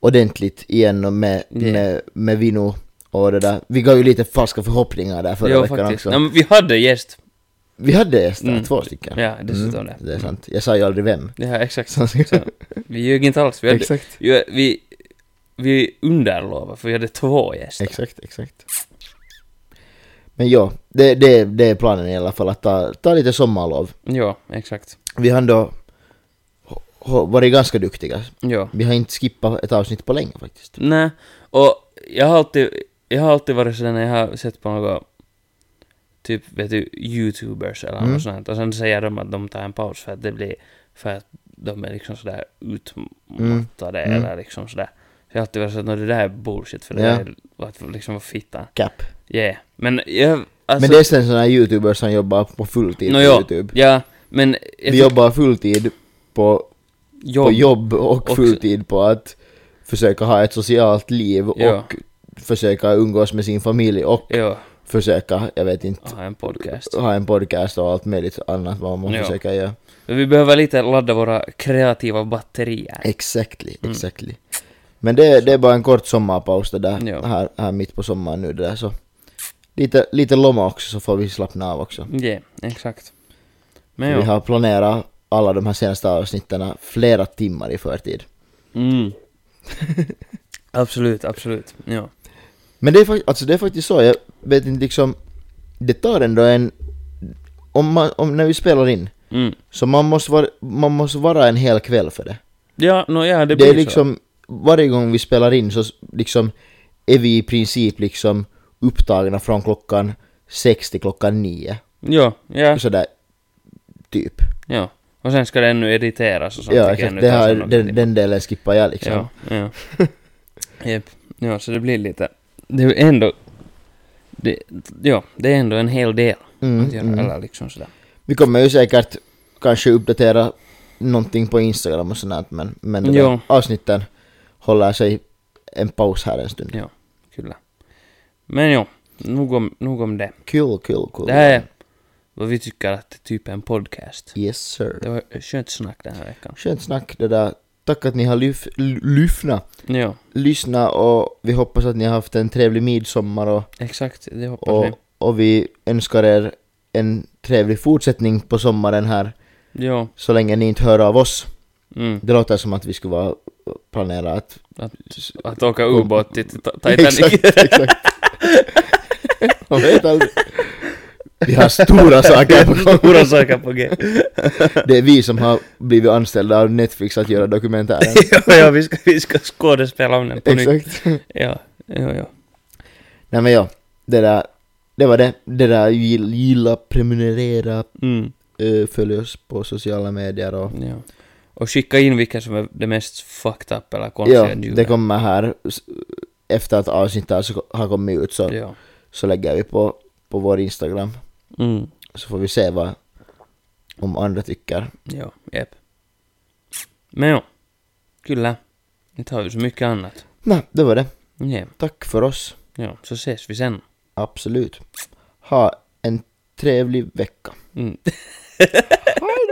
Speaker 3: ordentligt igen och med,
Speaker 2: Ja.
Speaker 3: med, med Vino och det där. Vi gav ju lite falska förhoppningar där förra
Speaker 2: jo,
Speaker 3: veckan
Speaker 2: faktiskt.
Speaker 3: också.
Speaker 2: Nej, men vi hade gäst.
Speaker 3: Vi hade gäster,
Speaker 2: Mm.
Speaker 3: två stycken. Mm,
Speaker 2: Ja, dessutom det.
Speaker 3: Det är sant. Jag sa ju aldrig vem.
Speaker 2: Ja, exakt.
Speaker 3: Så-
Speaker 2: Så, vi ljög inte alls. Vi, hade,
Speaker 3: Exakt.
Speaker 2: ju, vi, vi underlovade, för vi hade två gäster.
Speaker 3: Exakt, exakt. Men ja, det, det, det är planen i alla fall att ta, ta lite sommarlov.
Speaker 2: Ja, exakt.
Speaker 3: Vi har ändå h- h- varit ganska duktiga.
Speaker 2: Ja.
Speaker 3: Vi har inte skippat ett avsnitt på länge faktiskt.
Speaker 2: Nej, och jag har alltid, jag har alltid varit sådär när jag har sett på något typ, vet du, youtubers eller
Speaker 3: Mm.
Speaker 2: något sånt och sen säger de att de tar en paus för att det blir, för att de är liksom sådär utmattade
Speaker 3: Mm. Mm.
Speaker 2: eller liksom sådär. Så jag har alltid varit såhär, "Nå, det där är bullshit för det
Speaker 3: Ja.
Speaker 2: där är att liksom vara fitta.
Speaker 3: Cap.
Speaker 2: Yeah. Men jag, alltså,
Speaker 3: Men det är sen sådana här youtubers som jobbar på fulltid
Speaker 2: Nå,
Speaker 3: på
Speaker 2: ja.
Speaker 3: youtube.
Speaker 2: ja, men... jag
Speaker 3: Vi
Speaker 2: tycker-
Speaker 3: jobbar fulltid på jobb, på jobb och
Speaker 2: Också.
Speaker 3: fulltid på att försöka ha ett socialt liv
Speaker 2: Ja.
Speaker 3: och försöka umgås med sin familj och
Speaker 2: Ja,
Speaker 3: försöka, jag vet inte,
Speaker 2: ha en podcast.
Speaker 3: ha en podcast och allt möjligt annat vad man
Speaker 2: Ja.
Speaker 3: försöker göra.
Speaker 2: Vi behöver lite ladda våra kreativa batterier.
Speaker 3: Exactly,
Speaker 2: Mm.
Speaker 3: exactly. Men det, det är bara en kort sommarpaus det där,
Speaker 2: Ja.
Speaker 3: här, här mitt på sommaren nu det där så. Lite, lite lomma också så får vi slappna av också.
Speaker 2: Ja, exakt. Men
Speaker 3: Vi
Speaker 2: ja.
Speaker 3: har planerat alla de här senaste avsnitten flera timmar i förtid.
Speaker 2: Mm. absolut, absolut. Ja.
Speaker 3: Men det är, fak- alltså det är faktiskt så, jag vet inte liksom, det tar ändå en, om man, om, när vi spelar in,
Speaker 2: Mm.
Speaker 3: så man måste, vara, man måste vara en hel kväll för det.
Speaker 2: Ja, no, ja, det
Speaker 3: Det,
Speaker 2: blir
Speaker 3: är
Speaker 2: så.
Speaker 3: liksom, varje gång vi spelar in så s- liksom är vi i princip liksom upptagna från klockan sex till klockan nio.
Speaker 2: Ja, ja,
Speaker 3: Sådär, typ.
Speaker 2: ja. Och sen ska det ännu editeras och sånt.
Speaker 3: Ja,
Speaker 2: tycker jag
Speaker 3: exakt.
Speaker 2: nu
Speaker 3: Det
Speaker 2: tar
Speaker 3: här,
Speaker 2: så lång
Speaker 3: den,
Speaker 2: tid.
Speaker 3: den delen skippar jag liksom.
Speaker 2: Ja, ja. Jep. Ja, så det blir lite... Det är ändå... Det, ja, det är ändå en hel del
Speaker 3: Mm,
Speaker 2: att göra,
Speaker 3: mm.
Speaker 2: eller liksom sådär.
Speaker 3: Vi kommer ju säkert kanske uppdatera någonting på Instagram och sånt där, men, men det
Speaker 2: Ja.
Speaker 3: där avsnitten håller sig en paus här en stund.
Speaker 2: Ja, kyllä. Men jo, nog om, nog om det.
Speaker 3: Kul, kul, kul.
Speaker 2: Det här är vad vi tycker att det är typ en podcast.
Speaker 3: Yes sir.
Speaker 2: Det var skönt snack den här veckan.
Speaker 3: Skönt snack det där. Tack att ni har lyf, lyfna,
Speaker 2: Ja,
Speaker 3: lyssna och vi hoppas att ni har haft en trevlig midsommar och,
Speaker 2: exakt. Det hoppas
Speaker 3: och,
Speaker 2: vi.
Speaker 3: och vi önskar er en trevlig fortsättning på sommaren här
Speaker 2: Ja,
Speaker 3: så länge ni inte hör av oss.
Speaker 2: mm.
Speaker 3: Det låter som att vi skulle vara planera att...
Speaker 2: Att åka ubåt till Tita- Titanic.
Speaker 3: Exakt, exakt. Man vet aldrig. Vi har stora saker på gång.
Speaker 2: Stora saker på G.
Speaker 3: Det är vi som har blivit anställda av Netflix att göra dokumentären.
Speaker 2: ja, ja, vi ska, vi ska skådespela om den på nytt.
Speaker 3: Exakt.
Speaker 2: Ja, ja, ja.
Speaker 3: Nej men ja, det där, det var det. Det där, gill- gilla, prenumerera,
Speaker 2: Mm.
Speaker 3: eh, följ oss på sociala medier och...
Speaker 2: Ja. Och skicka in vilka som är det mest fucked up eller konstiga
Speaker 3: Ja, det
Speaker 2: djuren.
Speaker 3: kommer här s- efter att avsnittet har så- har kommit ut så,
Speaker 2: Ja.
Speaker 3: så lägger vi på, på vår Instagram.
Speaker 2: Mm.
Speaker 3: Så får vi se vad om andra tycker.
Speaker 2: Ja, jep. Men ja, kyllä. Nyt har vi så mycket annat.
Speaker 3: Nej, det var det.
Speaker 2: Ja,
Speaker 3: Tack för oss.
Speaker 2: ja, så ses vi sen.
Speaker 3: Absolut. Ha en trevlig vecka.
Speaker 2: Mm.
Speaker 3: Hej